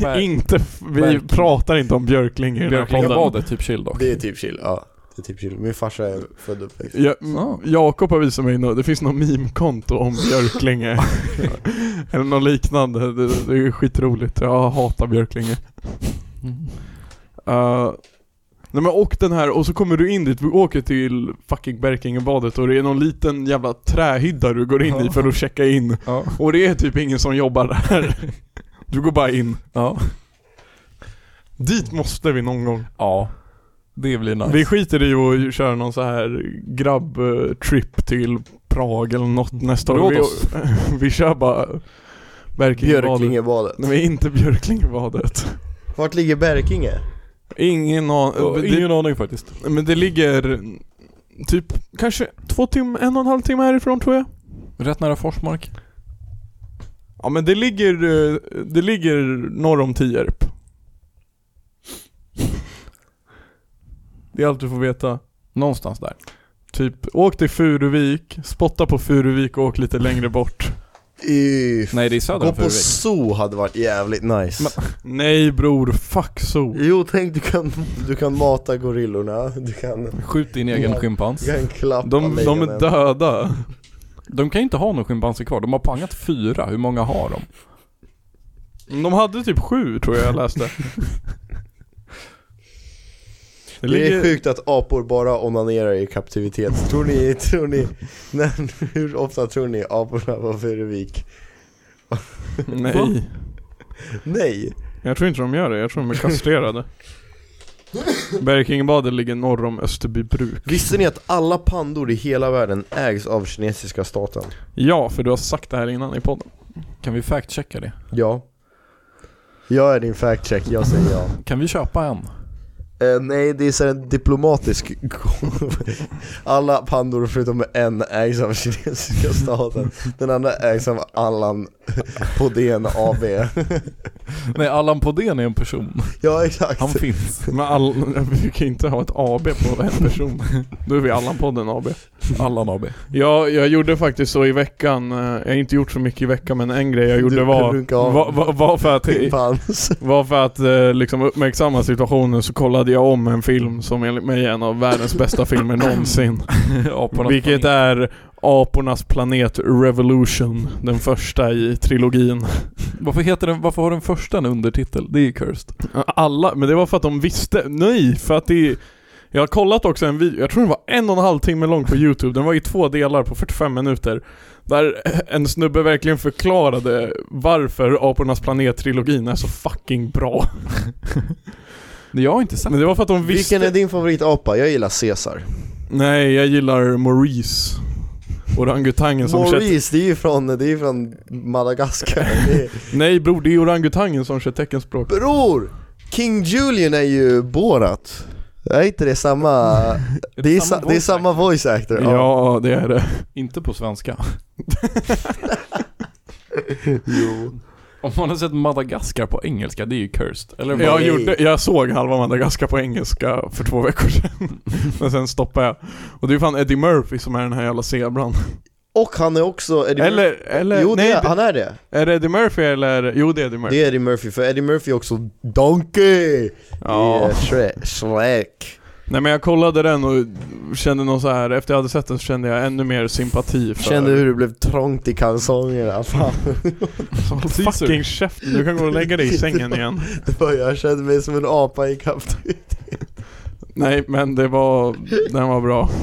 Ber- Inte, f- vi Verkligen. pratar inte om Björkling i den här podden. Berkingebadet, typ chill dock. Det är typ chill, ja. Det är typ chill. Min farsa är född och uppväxt. Ja, Ah. Jakob har visat mig, nå- det finns något meme-konto om Björklinge. Eller något liknande, det, det är skitroligt. Jag hatar Björklinge. Mm. Uh, nej men och den här, och så kommer du in dit, vi åker till fucking Berkingebadet och det är någon liten jävla trähydda du går in i för att checka in. Ja. Och det är typ ingen som jobbar där. Du går bara in. ja. Dit måste vi någon gång. Ja. Det blir nice. Vi skiter i att köra någon så här grabb-trip till Prag eller något nästa år. Låt Vi, oss. <laughs> vi kör bara Berkingebadet. Björklingebadet. Nej men inte Björklingebadet. Vart ligger Berkinge? Ingen aning. Ja, det- ingen aning faktiskt. Men det ligger... typ kanske två timmar, en och en halv timme härifrån tror jag. Rätt nära Forsmark. Ja men det ligger, eh, det ligger norr om Tierp. Det är allt du får veta. Någonstans där. Typ, åk till Furuvik, spotta på Furuvik och åk lite längre bort. Uff. Nej det är söder Gå om på Furuvik. zoo hade varit jävligt nice. Nej bror, fuck so. Jo, tänk du kan, du kan mata gorillorna, du kan, Skjut din egen Ja. schimpans. du kan klappa De, de är lejonen. döda. De kan ju inte ha någon schimpanser kvar. De har pangat fyra. Hur många har de? De hade typ sju tror jag jag läste. <laughs> Det Det är ligger, sjukt att apor bara onanerar i kaptivitet. Tror ni, tror ni, <laughs> när, hur ofta tror ni aporna var Furuvik? nej. Nej! Jag tror inte de gör det, jag tror de är kastrerade. Berkingebadet ligger norr om Österbybruk. Visste ni att alla pandor i hela världen ägs av kinesiska staten? Ja, för du har sagt det här innan i podden. Kan vi fact-checka det? Ja. Jag är din fact check, jag säger ja. Kan vi köpa en? Eh, nej, det är så här en diplomatisk <laughs> Alla pandor förutom en ägs av kinesiska staten. Den andra ägs av Allan på DN AB. <laughs> Nej, Allan Podén är en person. <laughs> Ja, exakt. Han <laughs> finns. Men all, <laughs> vi kan inte ha ett AB på en person. Då är vi Allan-podden AB. Allan <laughs> AB. Ja, jag gjorde faktiskt så i veckan, eh, jag har inte gjort så mycket i veckan men en grej jag Du gjorde var, runkade av. var, var, var för <laughs> att, Schimpans. var för att eh, liksom uppmärksamma situationen så kollade jag om en film som enligt mig är en av världens bästa filmer någonsin. Apornas Vilket planet. är Apornas planet Revolution, den första i trilogin. Varför, heter den, varför har den första en undertitel? Det är ju cursed. Alla, men det var för att de visste, nej för att det Jag har kollat också en video, jag tror den var en och en halv timme lång på youtube, den var i två delar på 45 minuter Där en snubbe verkligen förklarade varför Apornas planet-trilogin är så fucking bra Det jag har inte sett. Men det var för att de visste Vilken är din favoritapa? Jag gillar Caesar. Nej, jag gillar Maurice Orangutangen som kör... Maurice, det är ju från, det är ju från Madagaskar. Det är- Nej bror, det är orangutangen som kör teckenspråk Bror! King Julian är ju Borat. Är inte det samma? det Det är, samma sa, det är voice samma voice actor. Ja, det är det Inte på svenska. Jo. <laughs> Om man har sett Madagaskar på engelska, det är ju cursed. Eller Jag, Nej. gjorde, jag såg halva Madagaskar på engelska för två veckor <laughs> sedan. Men sen stoppade jag. Och det är fan Eddie Murphy som är den här jävla zebran. Och han är också Eddie Murphy. Eller, eller, Jo, det nej, är, han är det. är det Eddie Murphy eller? Jo det är Eddie Murphy. Det är Eddie Murphy, för Eddie Murphy är också Donkey! ja. I, eh, Shre- Shrek. Nej men jag kollade den och kände någon så här. efter jag hade sett den så kände jag ännu mer sympati för... Kände hur det blev trångt i alltså? <laughs> kalsongerna, fan. Håll Fucking käften, du kan gå och lägga dig i sängen igen. Det var- Jag kände mig som en apa i kapten. <laughs> Nej men det var, den var bra. <laughs>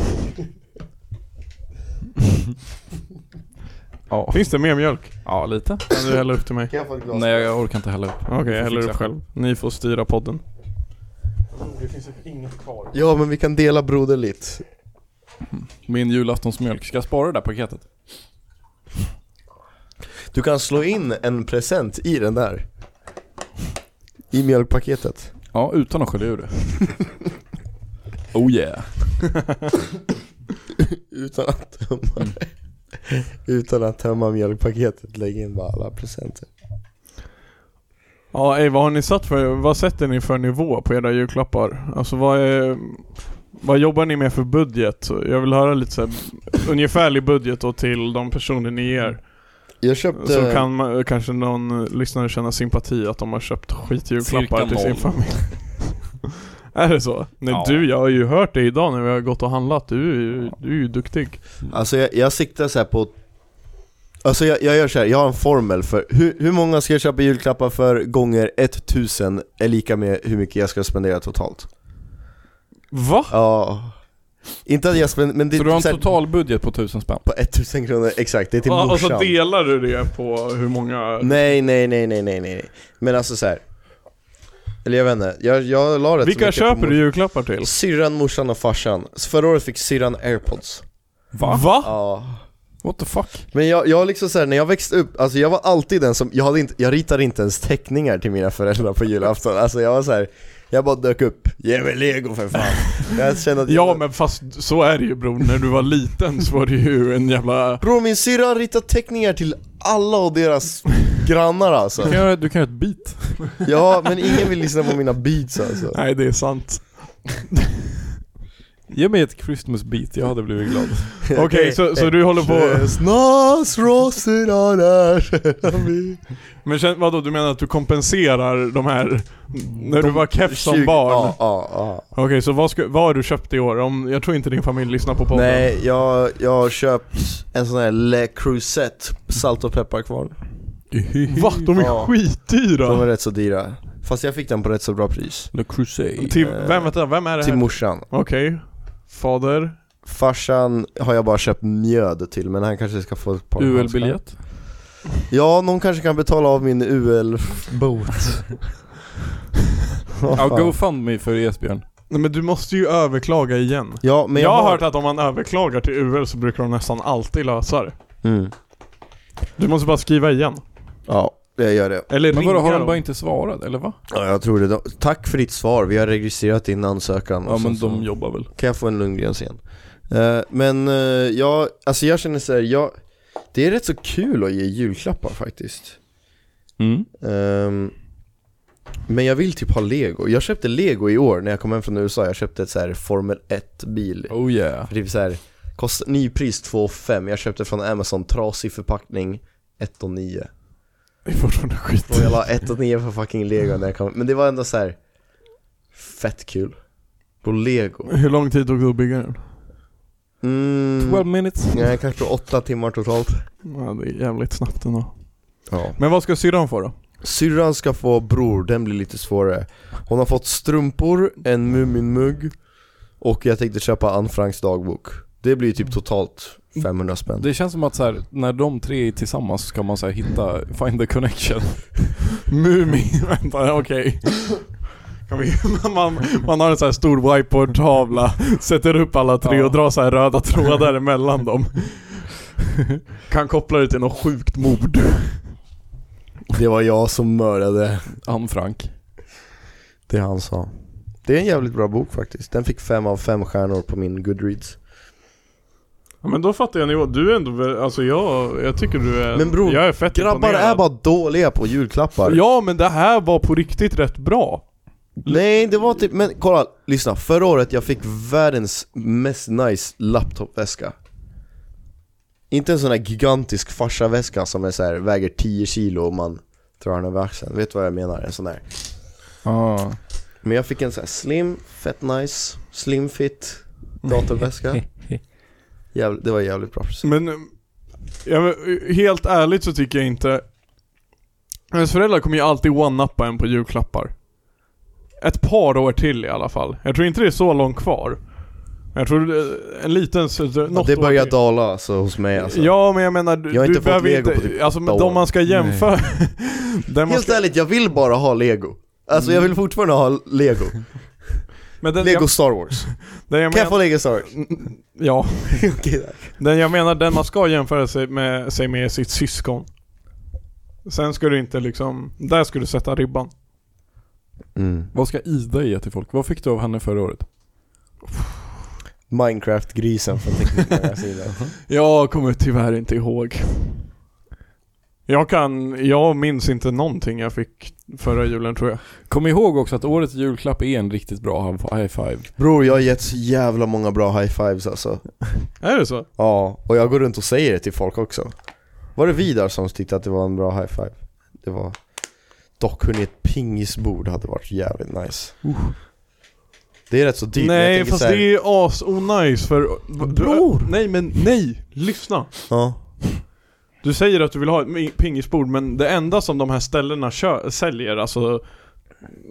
Ja. Finns det mer mjölk? ja, lite. Kan du hälla upp till mig? Kan jag få ett glas? Nej, jag orkar inte hälla upp. Okej, Du jag får häller fixa upp själv. Ni får styra podden. Ja men vi kan dela broderligt. Min julaftonsmjölk. Ska jag spara det där paketet? Du kan slå in en present i den där. I mjölkpaketet. Ja, utan att skölja ur det. <laughs> oh yeah. Utan att tömma det. Mm. <laughs> Utan att tömma mjölkpaketet, lägg in bara alla presenter. Ja, ey, vad har ni satt för, vad sätter ni för nivå på era julklappar? Alltså vad är, vad jobbar ni med för budget? Jag vill höra lite så här, ungefärlig budget då till de personer ni ger. Jag köpte... Så kan man, kanske någon lyssnare känna sympati att de har köpt skitjulklappar Cirka till sin noll. familj. <laughs> är det så? Nej Ja. du, jag har ju hört det idag när vi har gått och handlat. Du, är ju- du är ju duktig. Alltså jag, jag siktar så här på Alltså jag, jag gör så här, jag har en formel för hur, hur många ska jag köpa julklappar för gånger 1000 är lika med hur mycket jag ska spendera totalt. Va? Ja. Inte att jag spenderar, men det Så du har är så en här, totalbudget på tusen spänn? på 1000 kronor, exakt, det är till Ja, och morsan. så delar du det på hur många... Nej, nej, nej, nej, nej, nej. Men alltså så här. Eller jag vet inte, jag, jag la rätt så Vilka mycket på köper mor- du julklappar till? Syrran, morsan och farsan. Så Förra året fick syrran airpods. Va? Va? Ja. What the fuck? Men jag, jag liksom såhär, när jag växte upp, alltså jag var alltid den som, jag, hade inte, jag ritade inte ens teckningar till mina föräldrar på julafton Alltså jag var såhär, Jag bara dök upp. Ge mig lego för fan. Jag kände att Ja men fast så är det ju bror, när du var liten så var det ju en jävla... Bror min syrra har ritat teckningar till alla och deras grannar alltså. Du kan göra, du kan göra ett beat. Ja, men ingen vill lyssna på mina beats alltså. Nej det är sant. Ge mig ett Christmas beat, jag hade blivit glad. Okej så, så du håller på... Snasrosorna där Men känn, vadå du menar att du kompenserar de här, när du var keff som barn? Ja, ja, ja. Okej så vad, ska, vad har du köpt i år? Om, jag tror inte din familj lyssnar på podden. Nej, jag, jag har köpt en sån här Le Creuset salt och pepparkvarn. <laughs> Va? De är Ja. skitdyra! De är rätt så dyra. Fast jag fick den på rätt så bra pris. The Crusade. Till, eh, vem, vänta, vem är det Till här? morsan. Okej. Fader. Farsan har jag bara köpt mjöd till men han kanske ska få ett par handskar. UL-biljett. Ja, någon kanske kan betala av min UL-bot. <laughs> Ja, GoFundMe för Esbjörn. Nej men du måste ju överklaga igen. Ja, men jag jag, har hört att om man överklagar till UL så brukar de nästan alltid lösa det. Mm. Du måste bara skriva igen. Ja, jag gör det. Eller Men ringa vadå, har de dem. bara inte svarat eller va? Ja, jag tror det. De- Tack för ditt svar, vi har registrerat din ansökan. och Ja sen men så- de jobbar väl. Kan jag få en Lundgrens igen? Eh, men eh, jag, alltså jag känner såhär, jag, det är rätt så kul att ge julklappar faktiskt. Mm. Ehm, men jag vill typ ha lego. Jag köpte lego i år när jag kom hem från USA, jag köpte ett så här Formel 1-bil. Oh yeah. Typ så här, kost, nypris 2 500. jag köpte från Amazon, trasig förpackning 1 och 9. Det är fortfarande skit. Och jag la 1 och 9 för fucking lego när jag kom Men det var ändå så här fett kul. På lego. Hur lång tid tog det att bygga den? Mm. 12 minutes. Nej, kanske åtta timmar totalt. Ja, det är jävligt snabbt ändå. Ja. Men vad ska syrran få då? Syrran ska få bror, den blir lite svårare. Hon har fått strumpor, en Muminmugg och jag tänkte köpa Anne Franks dagbok. Det blir typ totalt 500 spänn. Det känns som att så här, när de tre är tillsammans så kan man så här, hitta, find <laughs> the connection. Mumin, vänta, okej. Kan vi- <laughs> Man, man har en sån här stor whiteboard-tavla, sätter upp alla tre Ja. och drar så här röda trådar emellan dem. Kan koppla det till något sjukt mord. Det var jag som mördade Anne Frank. det han sa. Det är en jävligt bra bok faktiskt. Den fick fem av fem stjärnor på min goodreads. Ja, men då fattar jag nivå. Du är ändå, vä- alltså jag, jag tycker du är, Men bror, jag är fett Grabbar imponerad. är bara dåliga på julklappar. Ja men det här var på riktigt rätt bra. Nej, det var typ, men kolla, lyssna. Förra året jag fick världens mest nice laptopväska. Inte en sån här gigantisk farsaväska som är så här, väger 10 kilo och man drar den över axeln. Vet du vad jag menar? En sån där. Ah. Men jag fick en sån här slim, fett nice, slim fit <laughs> datorväska. Jävligt, det var jävligt bra precis. Men, eh, ja, men eh, helt ärligt så tycker jag inte... Hennes föräldrar kommer ju alltid one-uppa en på julklappar. Ett par år till i alla fall. Jag tror inte det är så långt kvar. Jag tror eh, en liten... så- så- något det år börjar till. dala alltså, hos mig alltså. Ja men jag menar, du, Jag har du inte fått behöver inte... lego på typ alltså men åtta år. de man ska jämföra... <laughs> den man Helt ska, ärligt, jag vill bara ha lego. Alltså jag vill fortfarande ha lego. men Mm. den, Lego jag, Star Wars. den jag Mm, Kan jag få menar, lego Star Wars? ja, Okej, tack. den jag menar, den man ska jämföra sig med, sig med är sitt syskon. Sen ska du inte liksom, där ska du sätta ribban. Mm. Vad ska Ida ge till folk? Vad fick du av henne förra året? Minecraft-grisen från Teknikmagasinet. Jag kommer tyvärr inte ihåg. Jag kan, jag minns inte någonting jag fick förra julen tror jag. Kom ihåg också att årets julklapp är en riktigt bra high five. Bror, jag har gett så jävla många bra high-fives alltså. Är det så? Ja, och jag går runt och säger det till folk också. Var det Vidar som tyckte att det var en bra high-five? Det var... Dock, hörni, ett pingisbord hade varit jävligt nice. Det är rätt så dyrt, men Typ, jag nej tänker fast så här- det är ju as onajs för... Bror! Nej men nej! Lyssna! Ja. Du säger att du vill ha ett mi- pingisbord men det enda som de här ställena kö- säljer, alltså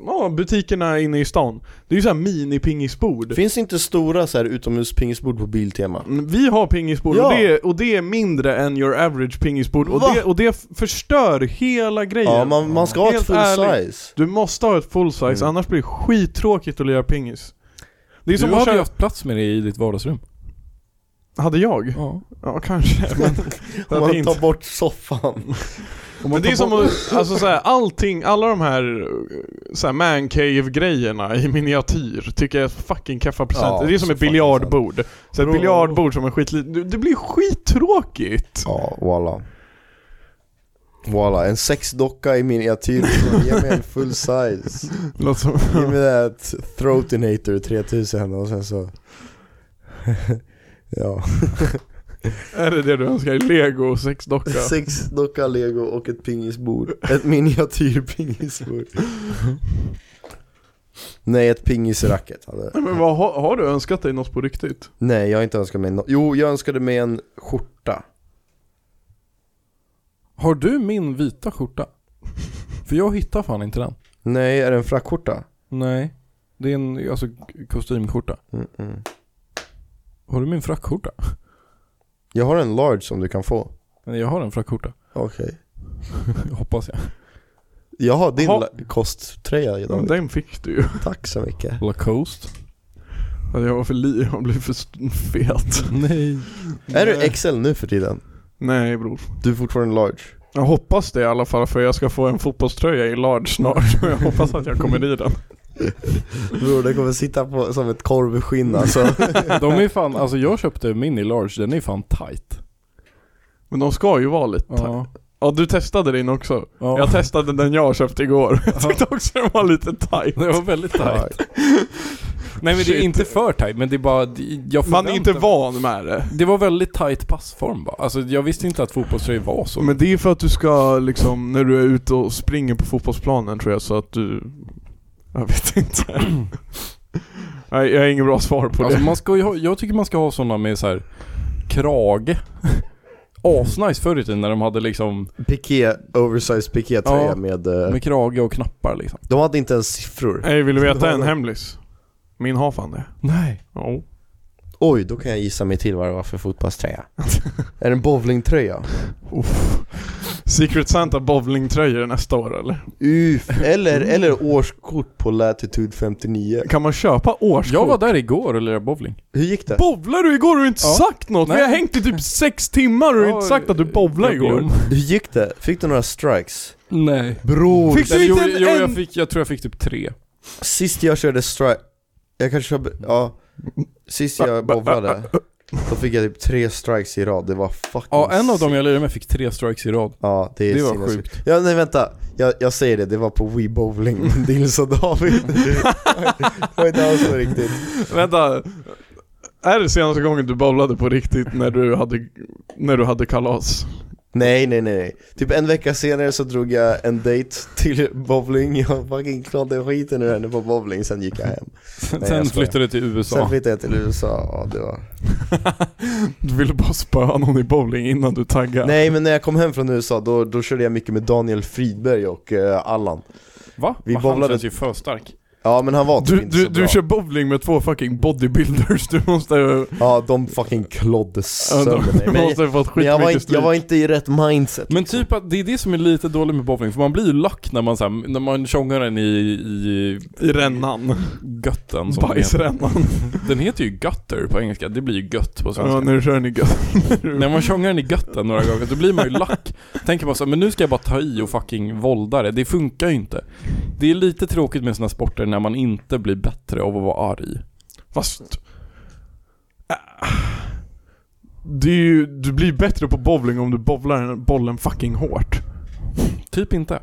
Ja, butikerna inne i stan. Det är ju såhär mini-pingisbord. Finns det inte stora så här utomhuspingisbord på Biltema? Mm, Vi har pingisbord Ja. och, det, och det är mindre än your average pingisbord och Va? det, och det f- förstör hela grejen. Ja, man, man ska ha ett Helt full ärligt. size. Du måste ha ett full size, Mm. annars blir det skittråkigt att lira pingis. Det är Du som hade att ju köra... haft plats med det i ditt vardagsrum. Hade jag? Ja. Ja, kanske. Men, Om hade man inte. tar bort soffan. men det är som att, alltså så här, allting, alla de här, så här mancave-grejerna i miniatyr tycker jag är fucking keffa present. Ja, det är som så ett biljardbord. Så ett Bro. biljardbord som är skitlitet. Det- Det blir skittråkigt. Ja, voila. Voila, en sexdocka i miniatyr. Ge mig en full size. Låter som, <laughs> Ge mig that throatinator 3000 och sen så... <laughs> ja. är det det du önskar? Lego sexdocka? <laughs> Sexdocka, lego och ett pingisbord. Ett miniatyrpingisbord. Nej, ett pingisracket hade Nej, men vad, har, har du önskat dig något på riktigt? Nej, jag har inte önskat mig något. Jo, jag önskade mig en skjorta. Har du min vita <laughs> skjorta? För jag hittar fan inte den. Nej, är det en frackskjorta? Nej. Det är en alltså, kostymskjorta. Mm-mm. Har du min frackskjorta? Jag har en large som du kan få. Nej, jag har en frackskjorta. Okej. <laughs> Hoppas jag. Jag har din Jaha. la- kosttröja Ja, idag. den fick du ju. Tack så mycket. Lacoste. Att jag var för li, jag blev för st- fet. Nej. Är du XL nu för tiden? Nej bror. Du är fortfarande large? Jag hoppas det i alla fall för jag ska få en fotbollströja i large snart <laughs> och jag hoppas att jag kommer i den. Bror, det kommer sitta på, som ett korvskinn alltså. <laughs> De är fan, alltså jag köpte min i large, den är fan tight. Men de ska ju vara lite ja. Ja. ja du testade din också. ja. Jag testade den jag köpte igår. <laughs> Jag tyckte också den var lite tight. <laughs> Det var väldigt tight. <laughs> Nej men det är Shit. inte för tight, men det är bara, jag Man är inte förväntar- van med det. Det var väldigt tight passform bara. Alltså jag visste inte att fotbollströjor var så. Men det är för att du ska liksom, när du är ute och springer på fotbollsplanen tror jag så att du... Jag vet <clears throat> inte. Nej, jag har inget bra svar på alltså det. man ska ju ha, jag tycker man ska ha sådana med så här krage. <laughs> Asnice förr i tiden när de hade liksom, Piké, oversized pikétröja Ja. med... eh, med krage och knappar liksom. De hade inte ens siffror. Nej, vill du Du har veta en den. hemlis? Min har fan det. Nej. Jo. Oj, då kan jag gissa mig till vad det var för fotbollströja. är det en bowlingtröja? Uff. Secret Santa bowlingtröjor nästa år eller? Uff, eller, eller årskort på Latitude 59. Kan man köpa årskort? Jag var där igår och lirade bowling. Hur gick det? Bowlar du igår och inte Ja. sagt något? Vi Nej. har hängt i typ sex timmar och du har inte sagt att du bowlade jag blev igår. om. Hur gick det? Fick du några strikes? Nej. Bror, Fick- Eller, du jo, inte en- jo, jag, en- fick, jag tror jag fick typ tre. sist jag körde strike... Jag kanske körde... Ja. Sist jag bowlade, då fick jag typ tre strikes i rad. Det var fucking Ja, en av sick. dem jag lirade med fick tre strikes i rad. Ja, det är Det var sinnessjukt. Ja nej vänta, jag, jag säger det, det var på Wii <laughs> Bowling med Nils och David Det var inte alls så riktigt <laughs> Vänta. Är det senaste gången du bowlade på riktigt när du hade, när du hade kalas? Nej nej nej, typ en vecka senare så drog jag en dejt till bowling Jag fucking knodde skiten ur henne på bowling, sen gick jag hem jag Sen skojar. flyttade jag till USA. Sen flyttade jag till USA, ja det var Du ville bara spöa någon i bowling innan du taggade. Nej men när jag kom hem från USA då, då körde jag mycket med Daniel Friberg och eh, Allan Va? Vi Men han bowlade- känns ju för stark. Ja men han var typ Du, du, inte så bra du kör bowling med två fucking bodybuilders, du måste ju... Ja de fucking klodde Ja, de- <laughs> sönder mig Du Men, måste ha fått men jag, var skitmycket inte, jag stryk. var inte i rätt mindset Men typ att det är det som är lite dåligt med bowling, för man blir ju lack när man så här, när man tjongar den i, i I rännan. götten som den heter. Bajsrännan. Den heter ju gutter på engelska, det blir ju gött på svenska. Ja, när du kör den i gö- När man tjongar den i götten några gånger, då blir man ju lack. Tänker man så här, men nu ska jag bara ta i och fucking volda det. Det funkar ju inte. Det är lite tråkigt med såna sporter när man inte blir bättre av att vara arg. Fast... Äh. Det är ju, du blir bättre på bowling om du bowlar bollen fucking hårt. Typ inte.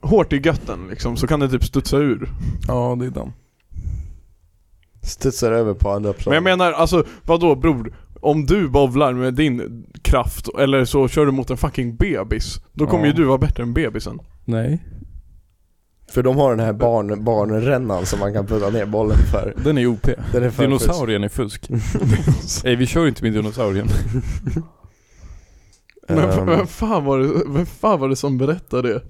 Hårt i götten liksom, så kan det typ studsa ur. Ja, det är den. Studsar över på andra plan Men jag menar, alltså vadå bror? Om du bowlar med din kraft, eller så kör du mot en fucking bebis, då kommer Ja. ju du vara bättre än bebisen. Nej. För de har den här barn, barnrännan som man kan putta ner bollen för. Den är OP. Den är för Dinosaurien är fusk. Nej, vi kör inte med dinosaurien. Men Ehm. um. vem, fan var det, vem fan var det som berättade det?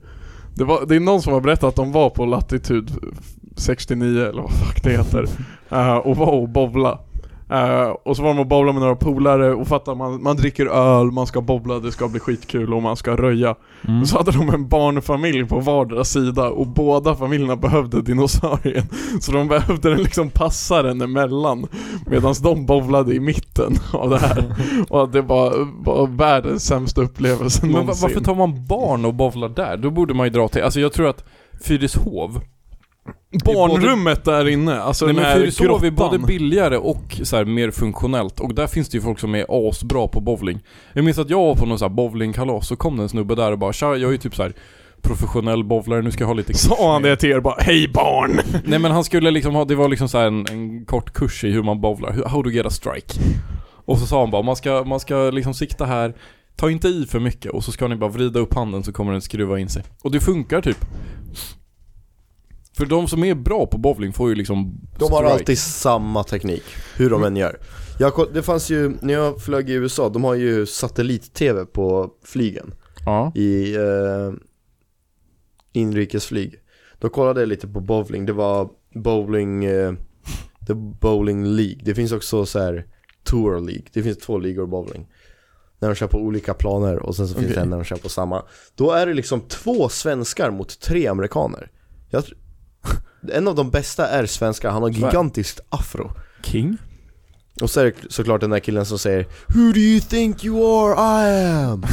Det, var, det är någon som har berättat att de var på latitud 69 eller vad fuck det heter, eh, och var och bowla. Eh, och så var de och bowlade med några polare och fattar man, man dricker öl, man ska bowla, det ska bli skitkul och man ska röja. Mm. Men Så hade de en barnfamilj på vardera sida och båda familjerna behövde dinosaurien. Så de behövde den liksom passa den emellan medan de bowlade i mitten av det <laughs> här. Och det var, var världens sämsta upplevelse Men va- någonsin. varför tar man barn och bowlar där? Då borde man ju dra till, alltså jag tror att Fyrishov, Barnrummet där inne, alltså nej den men här Fyrishov är både grottan. billigare och så här mer funktionellt och där finns det ju folk som är asbra på bowling. Jag minns att jag var på någon så här bowlingkalas så kom det en snubbe där och bara tja, jag är ju typ så här professionell bowlare, nu ska jag <laughs> ha lite Sa han det till er bara 'Hej barn!' Nej men han skulle liksom ha, det var liksom så här en, en kort kurs i hur man bowlar, hur- how to get a strike. Och så sa han bara, man ska, man ska liksom sikta här, ta inte i för mycket och så ska ni bara vrida upp handen så kommer den skruva in sig. Och det funkar typ. För de som är bra på bowling får ju liksom De har strike. alltid samma teknik, hur de än gör. Jag, koll- det fanns ju, när jag flög i USA, de har ju satellit-tv på flygen. Ja. i eh, inrikesflyg. Då kollade jag lite på bowling, det var bowling, eh, the bowling League. Det finns också så här tour League, det finns två ligor bowling. När de kör på olika planer och sen så finns Okej. det en när de kör på samma. Då är det liksom två svenskar mot tre amerikaner. Jag tr- <laughs> en av de bästa är svenskar, han har Sverige. gigantiskt afro. King? Och så är det såklart den där killen som säger Who do you think you are? I am!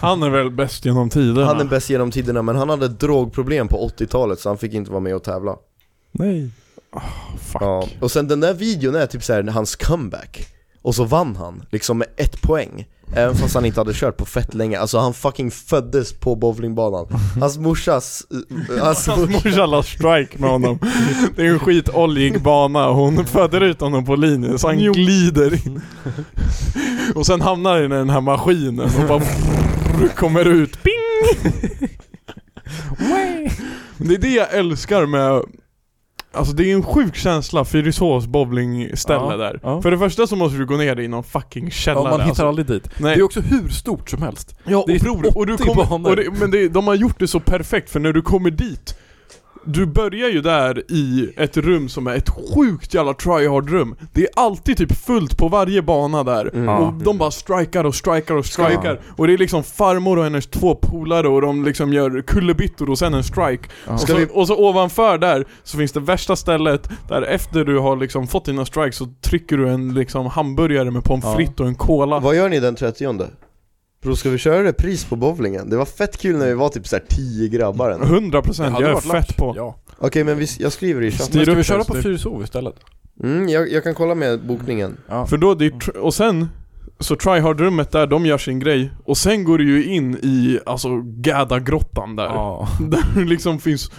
Han är väl bäst genom tiderna? Han är bäst genom tiderna men han hade drogproblem på 80-talet så han fick inte vara med och tävla. Nej. Ah, Fuck. Ja. Och sen den där videon är typ såhär hans comeback. Och så vann han, liksom med ett poäng. Även fast han inte hade kört på fett länge. Alltså han fucking föddes på bowlingbanan. Hans morsas... eh, Hans Alltså, Hans mor- morsa la strike med honom. Det är en skitoljig bana och hon föder ut honom på linjen så han glider in. Och sen hamnar han i den här maskinen och bara kommer ut. Ping! Det är det jag älskar med Alltså det är en sjuk känsla, Fyrisås bowlingställe Ja, där. ja. För det första så måste du gå ner i någon fucking Ja, källare. man hittar alltså. aldrig dit. Nej. Det är också hur stort som helst. Ja, och, Det är bror, och du 80 kommer, banor. och det, Men det, de har gjort det så perfekt, för när du kommer dit Du börjar ju där i ett rum som är ett sjukt jävla tryhard-rum Det är alltid typ fullt på varje bana där Mm. Och de bara strikar och strikar och strikar Och det är liksom farmor och hennes två polare och de liksom gör kullerbyttor och sen en strike Ja. och, Ska så, vi- och så ovanför där så finns det värsta stället Där efter du har liksom fått dina strikes så trycker du en liksom hamburgare med pommes Ja. frites och en cola Vad gör ni den 30 Bro, ska vi köra repris på bowlingen? Det var fett kul när vi var typ såhär 10 grabbar ändå. 100% jag hade är varit lack. fett på Ja. Okej men vi, jag skriver i Men chatten. ska upp vi den köra på så du- Fyrishov istället? Mm, jag, jag kan kolla med bokningen. Ja. För då, det är tr- och sen så tryhard-rummet där, de gör sin grej Och sen går du ju in i, alltså Gädagrottan där Ja. Där det <laughs> liksom finns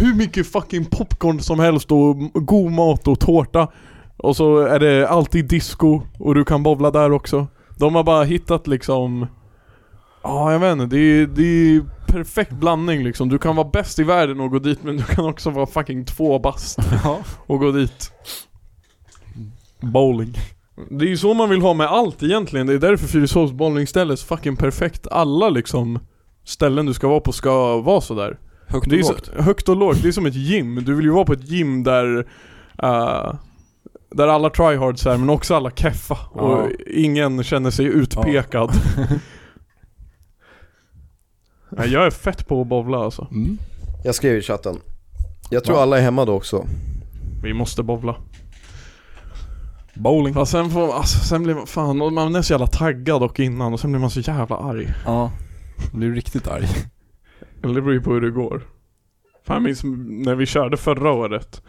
hur mycket fucking popcorn som helst och m- god mat och tårta Och så är det alltid disco och du kan bowla där också De har bara hittat liksom Ja jag vet inte, det är, det är perfekt blandning liksom Du kan vara bäst i världen och gå dit men du kan också vara fucking två bast ja. och gå dit Bowling Det är ju så man vill ha med allt egentligen, det är därför Fyrishovs bowlingställe är så fucking perfekt Alla liksom ställen du ska vara på ska vara sådär Högt det är och så, lågt. Högt och lågt, det är som ett gym, du vill ju vara på ett gym där eh, Där alla tryhards är men också alla keffa och Ja. ingen känner sig utpekad <laughs> Nej, Jag är fett på att bowla alltså, Mm. Jag skriver i chatten. Jag tror Ja. alla är hemma då också. vi måste bowla Bowling. Fast sen får alltså, sen blir man, fan, och man är så jävla taggad och innan och sen blir man så jävla arg. Ja. <laughs> Blir riktigt arg. Eller det beror ju på hur det går. Fan jag minns när vi körde förra året.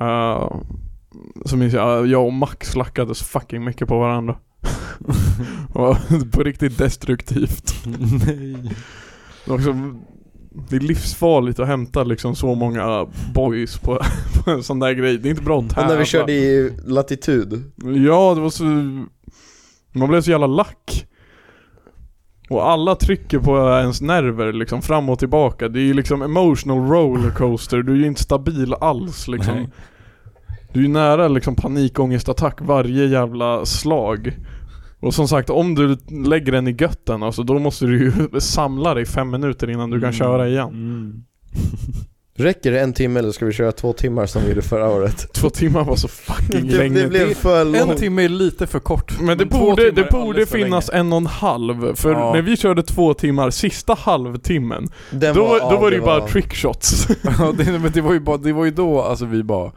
eh, så minns jag, eh, jag och Max lackade så fucking mycket på <laughs> varandra. Och <laughs> på riktigt destruktivt. Nej. Det, var också, det är livsfarligt att hämta liksom så många boys på, <laughs> på en sån där grej. Det är inte bra att Och när tävla. vi körde i latitud, Ja, det var så... Man blev så jävla lack. Och alla trycker på ens nerver liksom fram och tillbaka. Det är ju liksom emotional rollercoaster. Du är ju inte stabil alls <laughs> liksom. Nej. Du är ju nära liksom panikångestattack varje jävla slag. Och som sagt, om du lägger den i götten <laughs> Mm. alltså, då måste du ju samla dig fem minuter innan du kan köra igen. Mm. Räcker det en timme eller ska vi köra två timmar som vi gjorde förra <laughs> året? Två timmar var så Det, fucking länge. det blev för En långt. timme är lite för kort. Men det två borde, timmar det är borde alldeles för finnas en och en halv, för Ja. när vi körde två timmar, sista halvtimmen, Den då, var, då ja, var det ju den bara trickshots. <laughs> länge. <laughs> Ja, det, men det var ju bara, det var ju då alltså vi bara...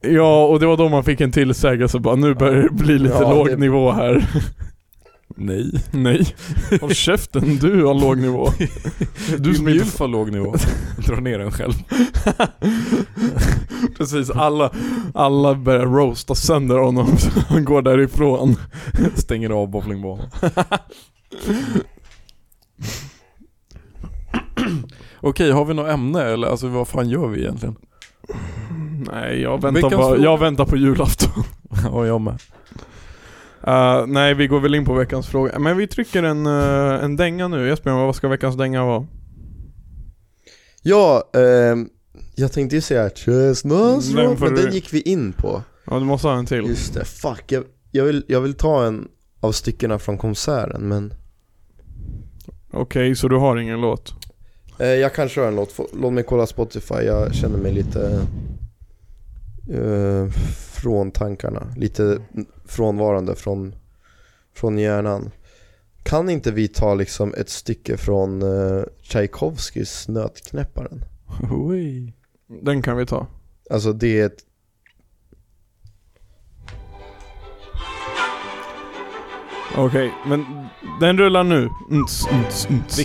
ja, och det var då man fick en tillsägelse bara nu börjar det bli lite Ja, låg det- nivå här. Nej. Nej. Håll käften, du har låg nivå. Du Du som som inte... Mjulf har låg nivå. <laughs> Dra ner den själv. Precis, alla, alla börjar roasta sönder honom <laughs> så han går därifrån. Stänger av <laughs> bowlingbanan. Okej, har vi något ämne eller alltså vad fan gör vi egentligen? <laughs> Nej, jag Veckans väntar, bara, fråga. jag väntar på julafton. <laughs> Ja, jag med. Eh, nej, vi går väl in på veckans fråga. Men vi trycker en, eh, en dänga nu. Jesper, vad ska veckans dänga vara? Ja, ehm, jag tänkte ju säga Den Chestnutsrot, Mm, får men du- den gick vi in på. Ja, du måste ha en till. Just det, fuck. Jag, jag, vill, jag vill ta en av styckena från konserten men Okej, så du har ingen låt? eh, jag kan köra en låt. Få- Låt mig kolla Spotify, jag känner mig lite eh, från tankarna. Lite frånvarande från, från hjärnan. Kan inte vi ta liksom ett stycke från eh, Tchaikovskys Nötknäpparen? Oj. Den kan vi ta. Alltså det är ett... Okej, men den rullar nu. Nts, nts, nts. Vi-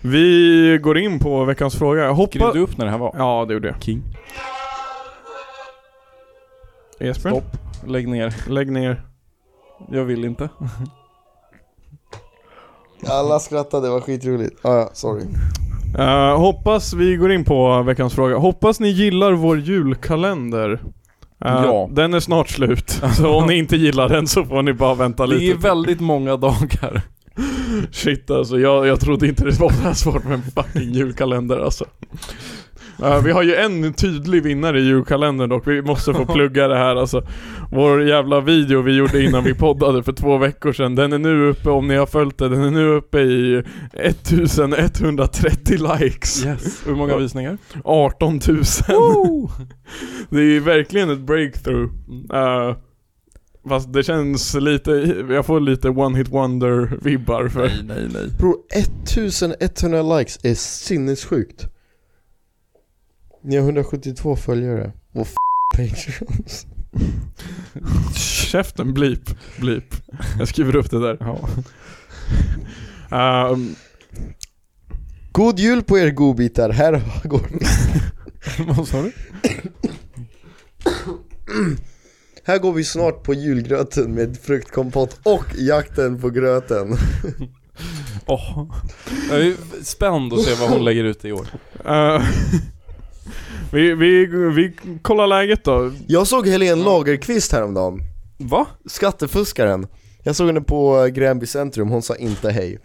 Vi går in på veckans fråga. Jag Skrev hoppas... du upp när det här var? Ja, det gjorde jag. King. Jesper, Stopp. Lägg ner. lägg ner. Jag vill inte. Alla skrattade, det var skitroligt. Ah, ja, sorry. Eh, hoppas vi går in på veckans fråga. Hoppas ni gillar vår julkalender. Eh, Ja. Den är snart slut. Så Alltså, <laughs> om ni inte gillar den så får ni bara vänta lite. Det är väldigt många dagar. <laughs> Shit alltså, jag, jag trodde inte det var så här svårt med en fucking julkalender alltså. Eh, vi har ju en tydlig vinnare i julkalendern dock, vi måste <laughs> få plugga det här alltså. Vår jävla video vi gjorde innan vi poddade för två veckor sedan, den är nu uppe, om ni har följt det, den är nu uppe i 1130 likes. Yes. Hur många visningar? 18 000. <laughs> Det är ju verkligen ett breakthrough. Mm. Eh, fast det känns lite, jag får lite one hit wonder vibbar för nej, nej. Bro, 1100 likes är sinnessjukt. Ni har 172 följare. Och f- Patreons. Käften, blip, blip. Jag skriver upp det där. <laughs> Ehm, God jul på er godbitar, här går, <laughs> Vad sa du? här går vi snart på julgröten med fruktkompott och jakten på gröten. Åh. Jag är spänd att se vad hon lägger ut i år. eh, <laughs> vi, vi, vi kollar läget då. Jag såg Helene Lagerqvist häromdagen, Va? skattefuskaren. Jag såg henne på Gränby centrum, hon sa inte hej.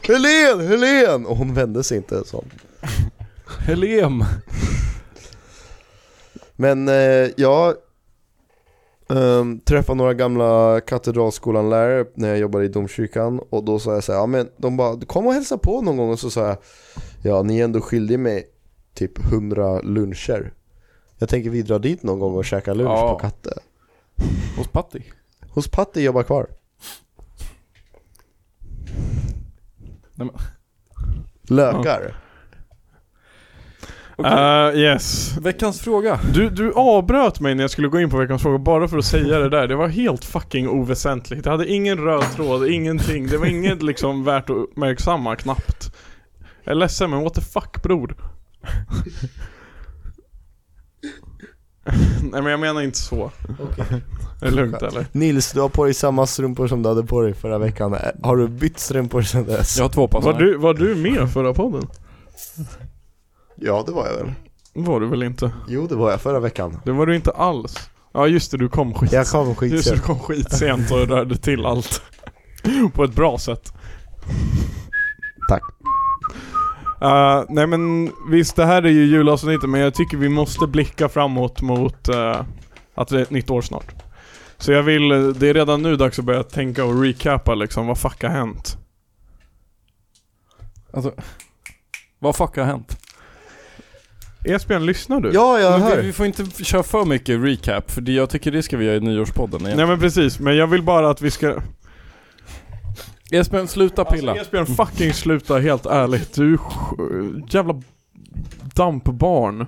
<laughs> Helen, Helen! Och hon vände sig inte så. Helem. Men eh, jag ehm, träffade några gamla katedralskolan-lärare när jag jobbade i domkyrkan och då sa jag så här, ja men de bara, kom och hälsa på någon gång och så sa jag, ja ni är ändå skyldig mig typ 100 luncher. Jag tänker vi drar dit någon gång och käkar lunch Ja. på Katte. Hos Patti. Hos Patti jobbar kvar. Nej, men- Lökar. Okej. Eh, yes. Veckans fråga. Du, du avbröt mig när jag skulle gå in på veckans fråga bara för att säga det där. Det var helt fucking oväsentligt. Det hade ingen röd tråd, ingenting. Det var inget liksom värt att uppmärksamma knappt. Jag är ledsen men what the fuck bror? <laughs> Nej men jag menar inte så. Det är lugnt eller? Nils, du har på dig samma strumpor som du hade på dig förra veckan. Har du bytt strumpor sedan dess? Jag har två par Var såna här. du, var du med förra podden? Ja, det var jag väl. Var du väl inte? Jo, det var jag förra veckan. Det var du inte alls. Ja just det, du kom skit. Jag kom Just det, du skitsent. kom skitsent och rörde till allt. På ett bra sätt. Tack. Eh, nej men visst, det här är ju julavsnittet men jag tycker vi måste blicka framåt mot eh, att det är ett nytt år snart. Så jag vill, eh, det är redan nu dags att börja tänka och recapa liksom, vad fuck har hänt? Alltså, vad fuck har hänt? Esbjörn, lyssnar du? Ja, jag Men vi, hör. vi får inte f- köra för mycket recap, för det, jag tycker det ska vi göra i nyårspodden igen. Nej men precis, men jag vill bara att vi ska... Esbjörn, sluta pilla. Alltså, Esbjörn, fucking sluta helt ärligt. Du är sj- jävla dampbarn.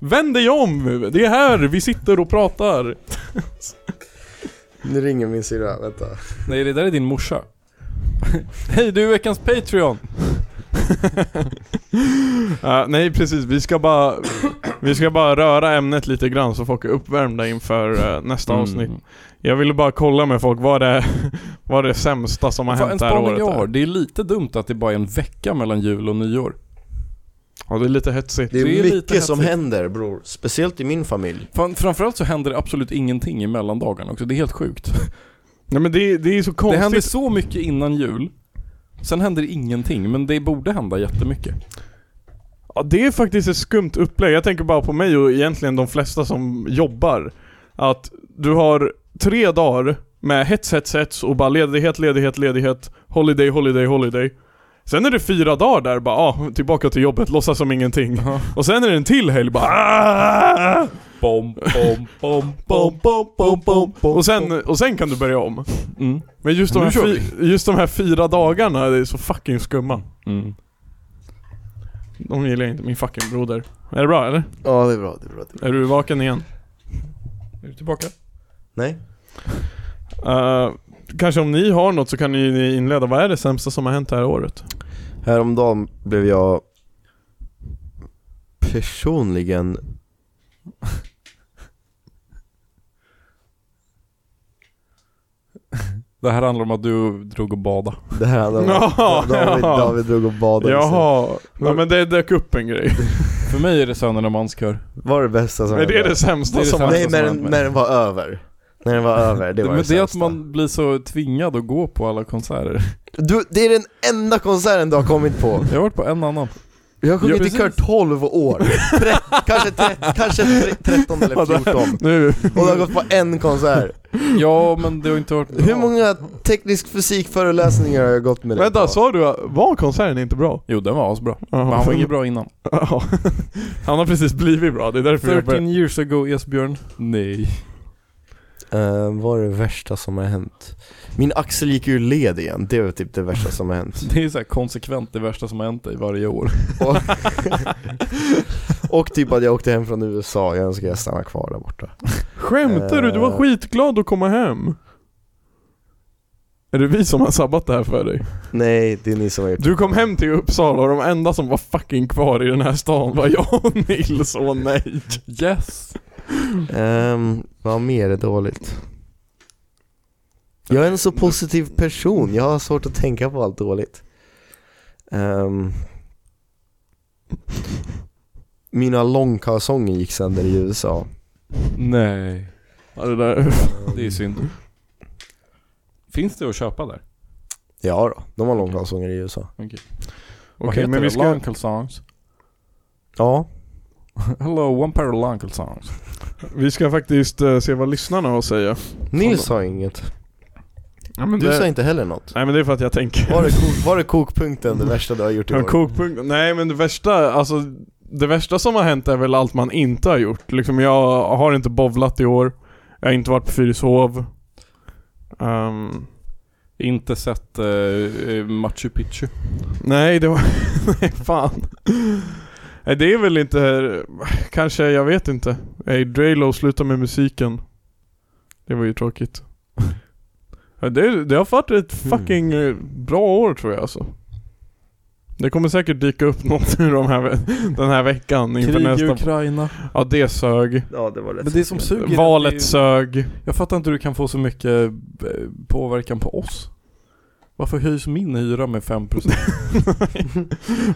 Vänd dig om! Det är här vi sitter och pratar. Nu ringer min syrra, vänta. Nej, det där är din morsa. <laughs> Hej, du är veckans Patreon! Ja, nej precis, vi ska bara Vi ska bara röra ämnet lite grann så folk är uppvärmda inför eh, nästa avsnitt Mm. Jag ville bara kolla med folk, vad det, vad det sämsta som har Fan, en hänt det här spaning året jag har, är. det är lite dumt att det bara är en vecka mellan jul och nyår. Ja det är lite hetsigt Det är, Det är lite mycket som häftigt. händer bror, speciellt i min familj. Fan, framförallt så händer det absolut ingenting i mellandagarna också, det är helt sjukt. Nej men det, det är så Det konstigt händer så mycket innan jul, sen händer det ingenting, men det borde hända jättemycket. ja, Det är faktiskt ett skumt upplägg, jag tänker bara på mig och egentligen de flesta som jobbar Att du har tre dagar med hets, hets, hets och bara ledighet, ledighet, ledighet Holiday, holiday, holiday Sen är det fyra dagar där bara, ah, tillbaka till jobbet, låtsas som ingenting Och sen är det en till helg bara "Ah!" Bom, bom, bom, bom, bom, bom, bom, bom. Och sen, och sen kan du börja om Mm. Men just de, Nu här kör fy, just de här fyra dagarna, det är så fucking skumma Mm. De gillar jag inte, min fucking broder Är det bra eller? Ja det är bra, det är bra. Det är bra. Är du vaken igen? Är du tillbaka? Nej? Eh, kanske om ni har något så kan ni ni inleda, vad är det sämsta som har hänt det här året? Häromdagen blev jag personligen Det här handlar om att du drog och bada. Det här handlar om Ja, David, ja. David drog och badade sig. Jaha, ja, men det dök upp en grej För mig är det Sönerna Manskör. Var det bästa som Men det är hände? det sämsta Det är det som har sämsta. Nej som när hände den, mig. när den var över När den var över, det var Men det, det är att sämsta. man blir så tvingad att gå på alla konserter. du, Det är den enda konserten du har kommit <laughs> på Jag har varit på en annan. Jag har sjungit Ja, i kör 12 år, Tre, kanske, tre, kanske tre, 13 eller 14 Nu, Och du har gått på en konsert Ja, men det har inte varit bra. Hur många teknisk fysikföreläsningar har jag gått med dig vänta på? sa du, att- var konserten inte bra? Jo, den var asbra. Men han var inget bra innan. <laughs> Ja. Han har precis blivit bra, det är därför jag börjar. 13 years ago, Esbjörn. Nej. Eh, vad är det värsta som har hänt? Min axel gick ur led igen, det var typ det värsta som <laughs> har hänt Det är så här konsekvent det värsta som har hänt dig varje år. Och, och typ att jag åkte hem från USA, jag önskar jag stannade kvar där borta Skämtar du? Du var Eh. skitglad att komma hem. Är det vi som har sabbat det här för dig? Nej, det är ni som har gjort Du kom hem till Uppsala och de enda som var fucking kvar i den här stan var jag och Nils, åh nej. Yes! Ehm, vad mer är dåligt? Jag är en så positiv person, jag har svårt att tänka på allt dåligt Ehm, Mina långkalsonger gick sönder i USA Nej. Ja, det där. <laughs> Det är synd. Finns det att köpa där? Ja då, de har långkalsonger i USA Vad Okej heter men det? vi ska... Lunkel songs? <laughs> Ja, Hello, one pair of lunkel songs. Vi ska faktiskt eh, se vad lyssnarna har att säga. Nils sa inget, du sa inte heller något Nej men det är för att jag tänker. <laughs> Var det, kok, var det kokpunkten det värsta du har gjort i Ja, år? kokpunkt. Nej men det värsta, alltså det värsta som har hänt är väl allt man inte har gjort. Liksom jag har inte bovlat i år, jag har inte varit på Fyrishov. Ehm, Inte sett eh, eh, Machu Picchu. <laughs> nej det var, nej fan. Nej det är väl inte, kanske, jag vet inte. Nej, Draylo sluta med musiken. Det var ju tråkigt. Ja, det, det har varit ett Hmm. fucking eh, bra år tror jag alltså. Det kommer säkert dyka upp <laughs> något nu de här, ve- den här veckan inför Krig i nästa. Ukraina. Ja det sög. Ja det var Men rätt. det som suger är att Valet det är- sög. Jag fattar inte hur du kan få så mycket eh, påverkan på oss. Varför höjs min hyra med 5%?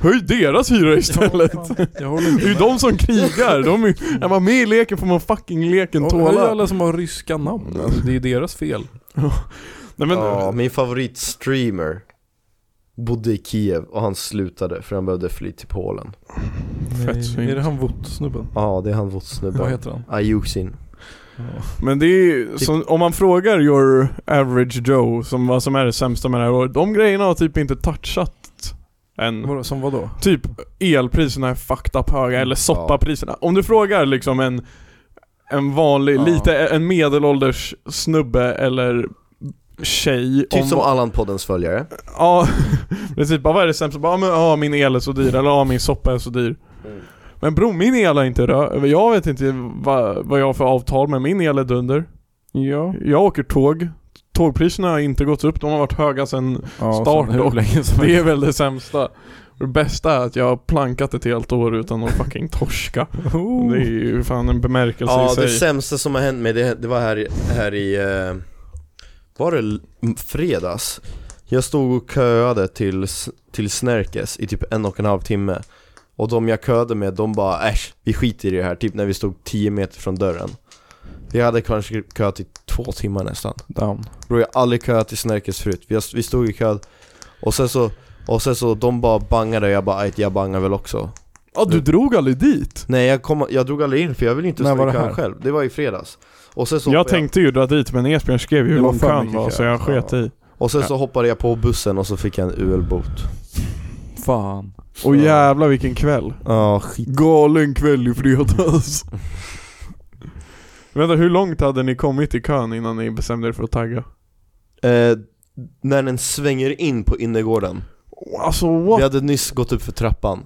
Höj deras hyra istället. Ja, fan. Jag håller <laughs> Det är ju inte med. de som krigar. De <laughs> är, är man med i leken får man fucking leken Ja, Höj tåla. alla som har ryska namn. Alltså, det är ju deras fel. Nej, men, Ja, min favoritstreamer bodde i Kiev och han slutade för han behövde fly till Polen. Fett synd. Är det han Wot-snubben? Ja, det är han vårt Vad snubbe. heter han? Ayuxin. Men det är ju, Typ- som, om man frågar your average Joe som vad som är det sämsta med det här året, de grejerna har typ inte touchat än. Vadå, Som vadå? Typ elpriserna är fucked up höga, eller soppapriserna. Om du frågar liksom en, en vanlig, Ja. lite, en medelålders snubbe eller tjej Typ om som vad- Allan-poddens följare. Ja, <laughs> precis. Bara vad är det sämsta? Bara, ja, men, ja min el är så dyr, eller ja min soppa är så dyr. Mm. Men bro, min el är inte rö- Jag vet inte vad, vad jag har för avtal, men min el är dunder. Ja. Jag åker tåg. Tågpriserna har inte gått upp, de har varit höga sen ja Start sen hur dock. länge som Det helst. är väl det sämsta. Och Det bästa är att jag har plankat ett helt år utan att fucking torska. <laughs> Oh. Det är ju fan en bemärkelse Ja, i det sig. sämsta som har hänt mig, det, det var här, i- här i... eh, Var det l- m- fredags? Jag stod och köade till, s- till Snärkes i typ en och en halv timme Och de jag köade med, de bara äsch, vi skiter i det här, typ när vi stod 10 meter från dörren Vi hade kanske köat i två timmar nästan Down. Bror jag har aldrig köat till Snärkes förut, vi, har- vi stod i kö Och sen så, och sen så de bara bangade och jag bara "Aj, jag bangar väl också Ja, du drog aldrig dit? Nej jag, kom, jag drog aldrig in för jag ville inte När stå var i det här? kön själv, det var i fredags Och sen så jag hoppade tänkte ju dra dit, men Esbjörn skrev ju hur Det var lång för kön mycket var, kö. så jag sket <laughs> Ja. i. Och sen så hoppade jag på bussen och så fick jag en UL-bot Fan. Och jävla vilken kväll. Ja, skit Galen kväll i fredags. <laughs> Vänta, hur långt hade ni kommit i kön innan ni bestämde er för att tagga? eh, När den svänger in på innergården Alltså Vi what? hade nyss gått upp för trappan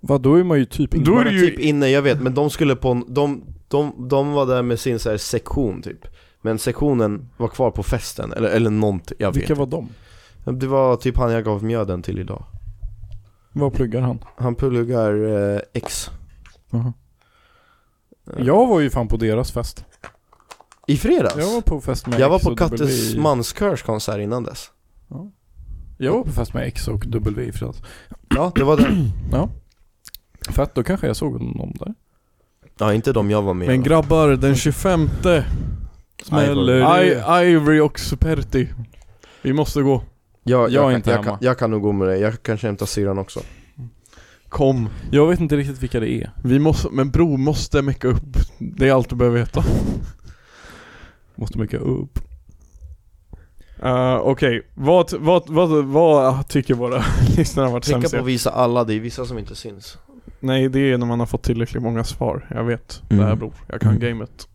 Vad då är man ju typ inte... Då är Man det är ju... typ inne, jag vet, men de skulle på en, de, de, de var där med sin så här sektion typ Men sektionen var kvar på festen, eller, eller någonting, jag vet Vilka var de? Det var typ han jag gav mjöden till idag Vad pluggar han? Han pluggar eh, X Jaha. Eh, Jag var ju fan på deras fest. I fredags? Jag var på fest med jag var X på och W. Kattes manskörs konsert innan dess Jag var på fest med X och W i fredags. Ja, det var den Fett, då kanske jag såg någon där. <clears throat> Ja, inte de jag var med Men med. grabbar, den 25 Smäller I, det? Ivory och Superti. Vi måste gå. Jag, Jag är kan- inte jag, hemma. Kan, jag kan nog gå med dig, jag kanske hämtar syrran också Kom. Jag vet inte riktigt vilka det är. Vi måste, men bro måste mecka upp. Det är allt du behöver veta. Måste mycket upp. Uh, Okej, vad, vad, vad, vad tycker våra <laughs> lyssnare har varit Tänka sämst? på att visa alla, det är vissa som inte syns Nej, det är när man har fått tillräckligt många svar. Jag vet. Det här Mm. bror. Jag kan Mm. gamet.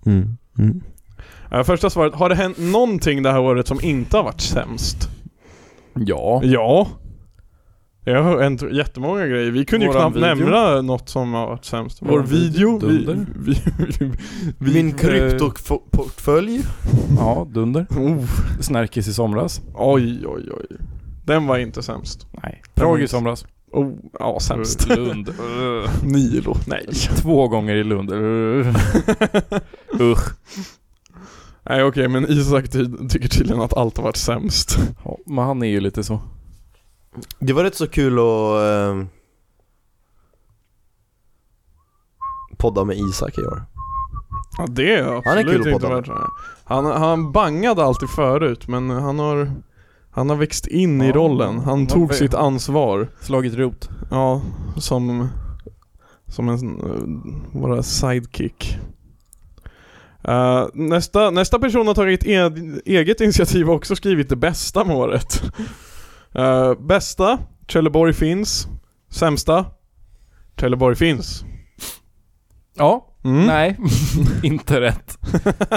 Eh, första svaret, har det hänt någonting det här året som inte har varit sämst? Ja. Ja. Det har hänt jättemånga grejer. Vi kunde Våran ju knappt video. nämna något som har varit sämst. Vår Våran video, video, vi, dunder. vi, <laughs> vi, vi, Min kryptoportfölj Ja, dunder. Oh, Snärkis i somras. oj, oj, oj. Den var inte sämst. Nej. Prag i Inte. somras. Oh, ja, sämst. <laughs> Lund. <laughs> Nilo. Nej. Två gånger i <laughs> Lund. <laughs> Usch. Nej okej, men Isak ty- tycker tydligen att allt har varit sämst. Ja, men han är ju lite så. Det var rätt så kul att eh, podda med Isak i år Ja det är Han är absolut kul att inte podda med. värt det här. han, han bangade alltid förut men han har Han har växt in i Ja, rollen. Han han tog har- sitt ansvar. Slagit rot. Ja, som Som en sån, eh, Våra sidekick Eh, nästa, nästa person har tagit e eget initiativ och också skrivit det bästa med året. <laughs> Eh, bästa, Trelleborg finns. Sämsta, Trelleborg finns. Ja. Mm. <laughs> Nej. inte rätt.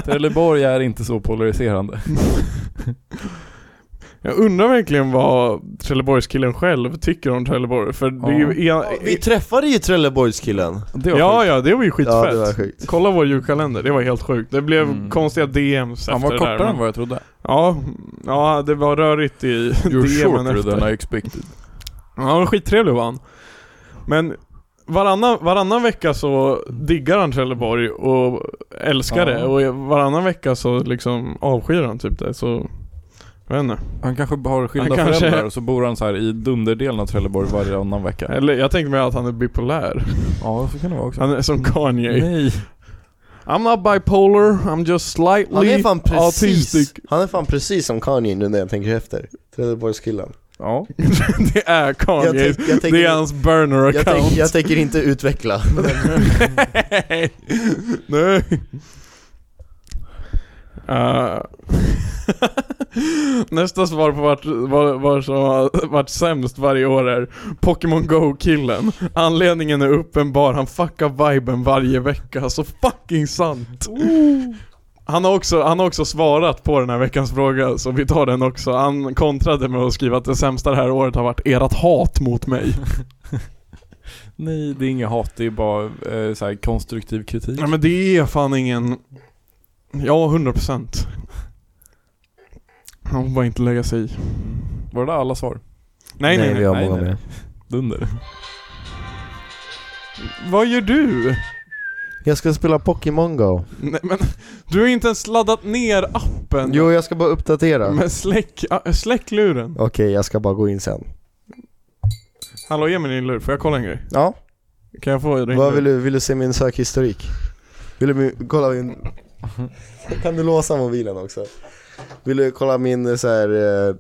Trelleborg är inte så polariserande. Jag undrar verkligen vad Trelleborgskillen själv tycker om Trelleborg, för det är ju... En, Vi träffade ju Trelleborgskillen. Det var ja, sjukt. ja, det var ju skitfett. Ja, det var sjukt. Kolla vår julkalender, det var helt sjukt. Det blev Mm. konstiga DMs Han efter var det där. kortare men- än vad jag trodde. Ja, ja, det var rörigt i <laughs> You're DMen shorter efter. than I expected. Ja, han var skittrevlig var han. Men varannan, varannan vecka så diggar han Trelleborg och älskar Ja. det och varannan vecka så liksom avskyr han typ det så... Jag vet inte. Han kanske har skilda Han kanske- föräldrar och så bor han så här i dunderdelen av Trelleborg varannan vecka. Eller jag tänkte mig att han är bipolär. Ja, så kan det vara också. Han är som Kanye. Nej. I'm not bipolar, I'm just slightly Han är fan precis, autistic. <laughs> han är fan precis som Kanye nu när jag tänker efter. Trelleborgskillen. Ja. det är Kanye. Jag tänk- jag tänker- det är hans burner Jag, tänk, account. jag tänker inte utveckla. Nej. <laughs> Nej. Eh, Nästa svar på vart, var, var som har varit sämst varje år är Pokémon Go-killen. Anledningen är uppenbar, han fuckar viben varje vecka. Så fucking sant! Han har, också, han har också svarat på den här veckans fråga, så vi tar den också. Han kontrade med att skriva att det sämsta det här året har varit ert hat mot mig. Nej, det är inget hat, det är bara eh, så här konstruktiv kritik. Nej men det är fan ingen... Ja, 100 procent. Han får bara inte lägga sig i. Var det alla svar? Nej, nej, nej. vi har nej, många nej. mer. Dunder. <laughs> Vad gör du? Jag ska spela Pokémon Go. Nej, men du har ju inte ens laddat ner appen. Jo, jag ska bara uppdatera. Okej, Men släck, ah, släck luren. jag ska bara gå in sen. Hallå, ge mig din lur. Får jag kolla en grej? Ja, Kan jag få din vad lur? vill du? Vill du se min sökhistorik? Vill du min, kolla min... Kan du låsa mobilen också? Vill du kolla min eh, så här, eh,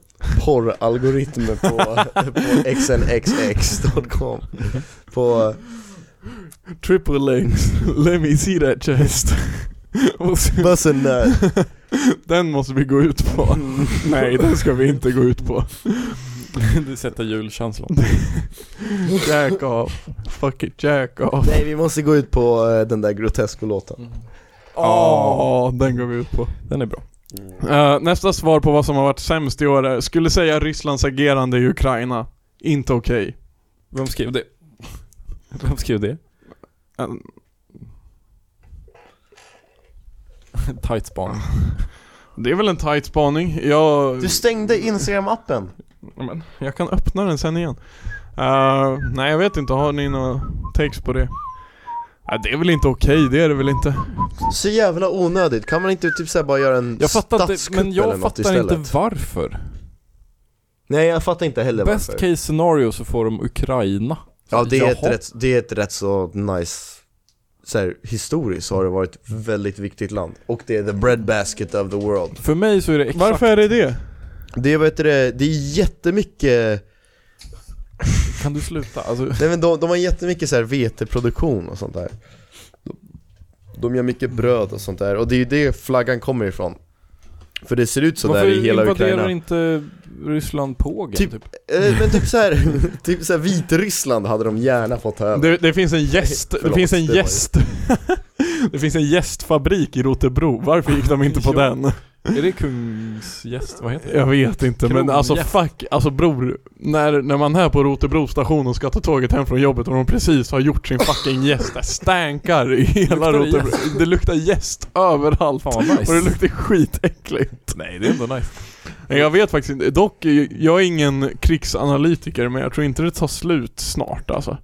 porralgoritm på, på xnxx.com? På... Triple legs. Let me see that <laughs> chest. Och sen- Bussen där. den måste vi gå ut <laughs> på. Nej, den ska vi inte gå ut på. det sätter julkänslan. Jack off. Fuck it, jack off. Nej vi måste gå ut på eh, den där Grotesco-låten Åh, den går vi ut på. Den är bra. Eh, nästa svar på vad som har varit sämst i år är, skulle säga Rysslands agerande i Ukraina. Inte okej. Vem skrev det? Vem skrev det? Eh, Ehm. Tight span. det är väl en tight spaning. Jag... Du stängde instagram-appen Ja, men, jag kan öppna den sen igen. Eh, nej, jag vet inte. Har ni några takes på det? Ja, det är väl inte okej, det är det väl inte. Så jävla onödigt, kan man inte typ såhär bara göra en Jag fattar inte, statskupp men eller jag något fattar inte istället? varför. Nej jag fattar inte heller Best varför case scenario så får de Ukraina. Ja det är, ett Jaha. rätt, det är ett rätt så nice så här, historiskt så har det varit ett väldigt viktigt land Och det är the breadbasket of the world För mig så är det exakt... Varför är det det? Det är, vet du, det, det är jättemycket Kan du sluta? Alltså, Nej men de, de har jättemycket så här veteproduktion och sånt där De- De gör mycket bröd och sånt där, och det är ju det flaggan kommer ifrån För det ser ut så varför där i hela invaderar Ukraina inte Ryssland Pågen? Typ- Typ. Eh, Men typ såhär, <laughs> typ så här Vitryssland hade de gärna fått ta över Det, det finns en gäst, det Förlåt, finns en det var ju- gäst. <laughs> det finns en gästfabrik i Rotebro. Varför gick de <laughs> inte på Jo. den? Är det kungsgäst? Vad heter det? Jag vet inte men Krongäst. alltså fuck, alltså bror när, när man är på Rotebro station och ska ta tåget hem från jobbet och de precis har gjort sin fucking gäst Det stänkar i hela Luktar det Rotebro Det luktar gäst överallt <laughs> Fan Typ. vad nice. och det luktar skitäckligt Nej, det är ändå nice. Nej, Jag vet faktiskt inte, dock jag är ingen krigsanalytiker men jag tror inte det tar slut snart alltså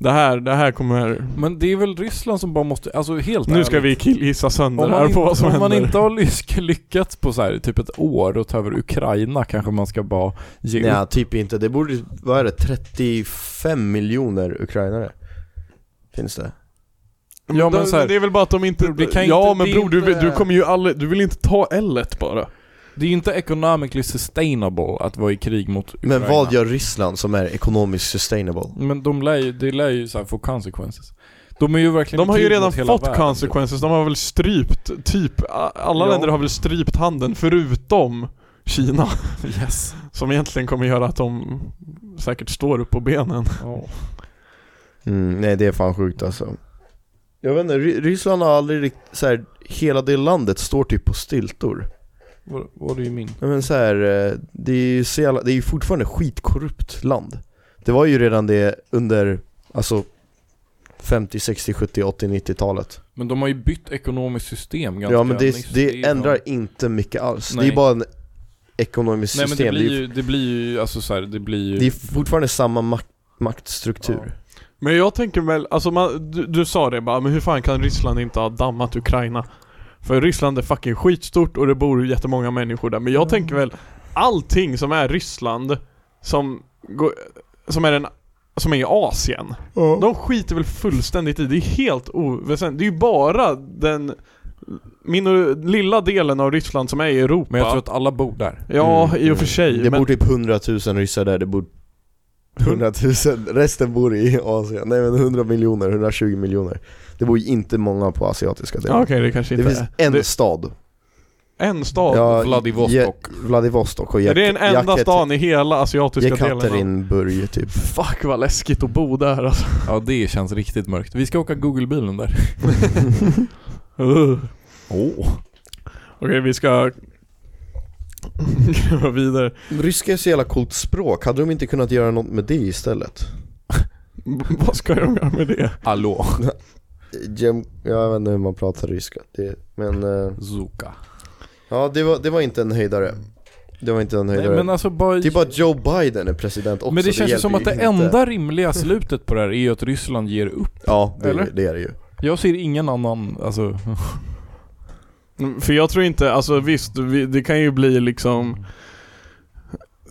Det här, det här kommer Men det är väl Ryssland som bara måste, alltså helt Nu ska ärligt. vi killgissa sönder Om det man, här inte, på vad som om man händer inte har lyck- lyckats på så här, typ ett år och ta över Ukraina kanske man ska bara ge upp. Nej typ inte, det borde, vad är det, 35 miljoner ukrainare? Finns det? Ja Då- men så här, det det är väl bara att de inte... Det kan ja inte- det men är bror du, inte- du kommer ju aldrig, du vill inte ta l bara. Det är ju inte economically sustainable att vara i krig mot Ukraina. Men vad gör Ryssland som är ekonomiskt sustainable? Men de lär ju, det lär ju så här få consequences. De är ju verkligen De har i ju krig redan mot hela fått världen. consequences, de har väl strypt typ, a- alla Ja. länder har väl strypt handeln förutom Kina. Yes. Som egentligen kommer göra att de säkert står upp på benen. Ja. Mm, nej det är fan sjukt alltså Jag vet inte, Ry- Ryssland har aldrig riktigt, så här, hela det landet står typ på stiltor Var, var det ju min. Ja, Men så här, eh, det är ju så jävla, det är ju fortfarande skitkorrupt land. Det var ju redan det under, alltså 50, 60, 70, 80, 90-talet. Men de har ju bytt ekonomiskt system ganska Ja men nyss. det, det är- ändrar inte mycket alls. Det Nej. är bara en ekonomiskt Nej men det system. blir det, är, ju, det blir ju, alltså så här, det blir ju... det är fortfarande samma mak- maktstruktur. Men jag tänker väl, alltså man, du, du sa det bara, men hur fan kan Ryssland inte ha dammat Ukraina? För Ryssland är fucking skitstort och det bor ju jättemånga människor där, men jag tänker väl allting som är Ryssland som, går, som är en som är i Asien. De skiter väl fullständigt i det. Det är helt oväsentligt. Det är ju bara den min lilla delen av Ryssland som är i Europa. Men jag tror att alla bor där. Ja, Mm, i och mm. för sig. Det men... bor typ 100 000 ryssar där, det bor 100 000, <laughs> resten bor i Asien. Nej men 100 miljoner, 120 miljoner. Det bor ju inte många på asiatiska Ja, delen. Okej, det kanske det inte finns är. en Det- stad. En stad? Ja, Vladivostok. Je- Vladivostok och är Jak- det är den enda Jaket- stan i hela asiatiska delen. av- Jekaterinburg typ. Fuck vad läskigt att bo där alltså. Ja det känns riktigt mörkt. Vi ska åka Google-bilen där. Uh. Åh. Okej, vi ska gräva vidare. <laughs> Ryska är så jävla coolt språk, hade de inte kunnat göra något med det istället? B- vad ska de göra med det? Hallå. Jem- Jag vet inte hur man pratar ryska, det, men eh, Zuka. ja det var, det var inte en höjdare. Det var inte en Nej höjdare. men alltså bara... det är bara Joe Biden är president också. men det känns ju hjälper som att det inte. enda rimliga slutet på det här är ju att Ryssland ger upp. Ja, det, Eller? det är det ju. Jag ser ingen annan, alltså... Mm, För jag tror inte, alltså visst, vi, det kan ju bli liksom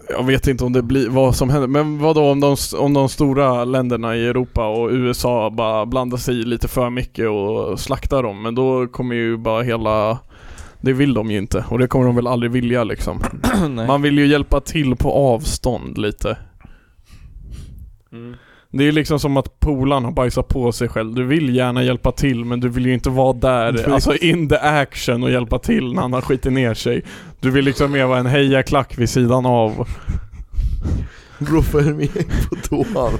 jag vet inte om det blir vad som händer, men vad då om de, om de stora länderna i Europa och USA bara blandar sig i lite för mycket och slaktar dem, men då kommer ju bara hela Det vill de ju inte och det kommer de väl aldrig vilja liksom. Nej. Man vill ju hjälpa till på avstånd lite. Det är liksom som att polaren har bajsat på sig själv. Du vill gärna hjälpa till men du vill ju inte vara där, Precis. alltså in the action och hjälpa till när han har skitit ner sig. Du vill liksom mer vara en hejaklack vid sidan av. Bror följ med på toan.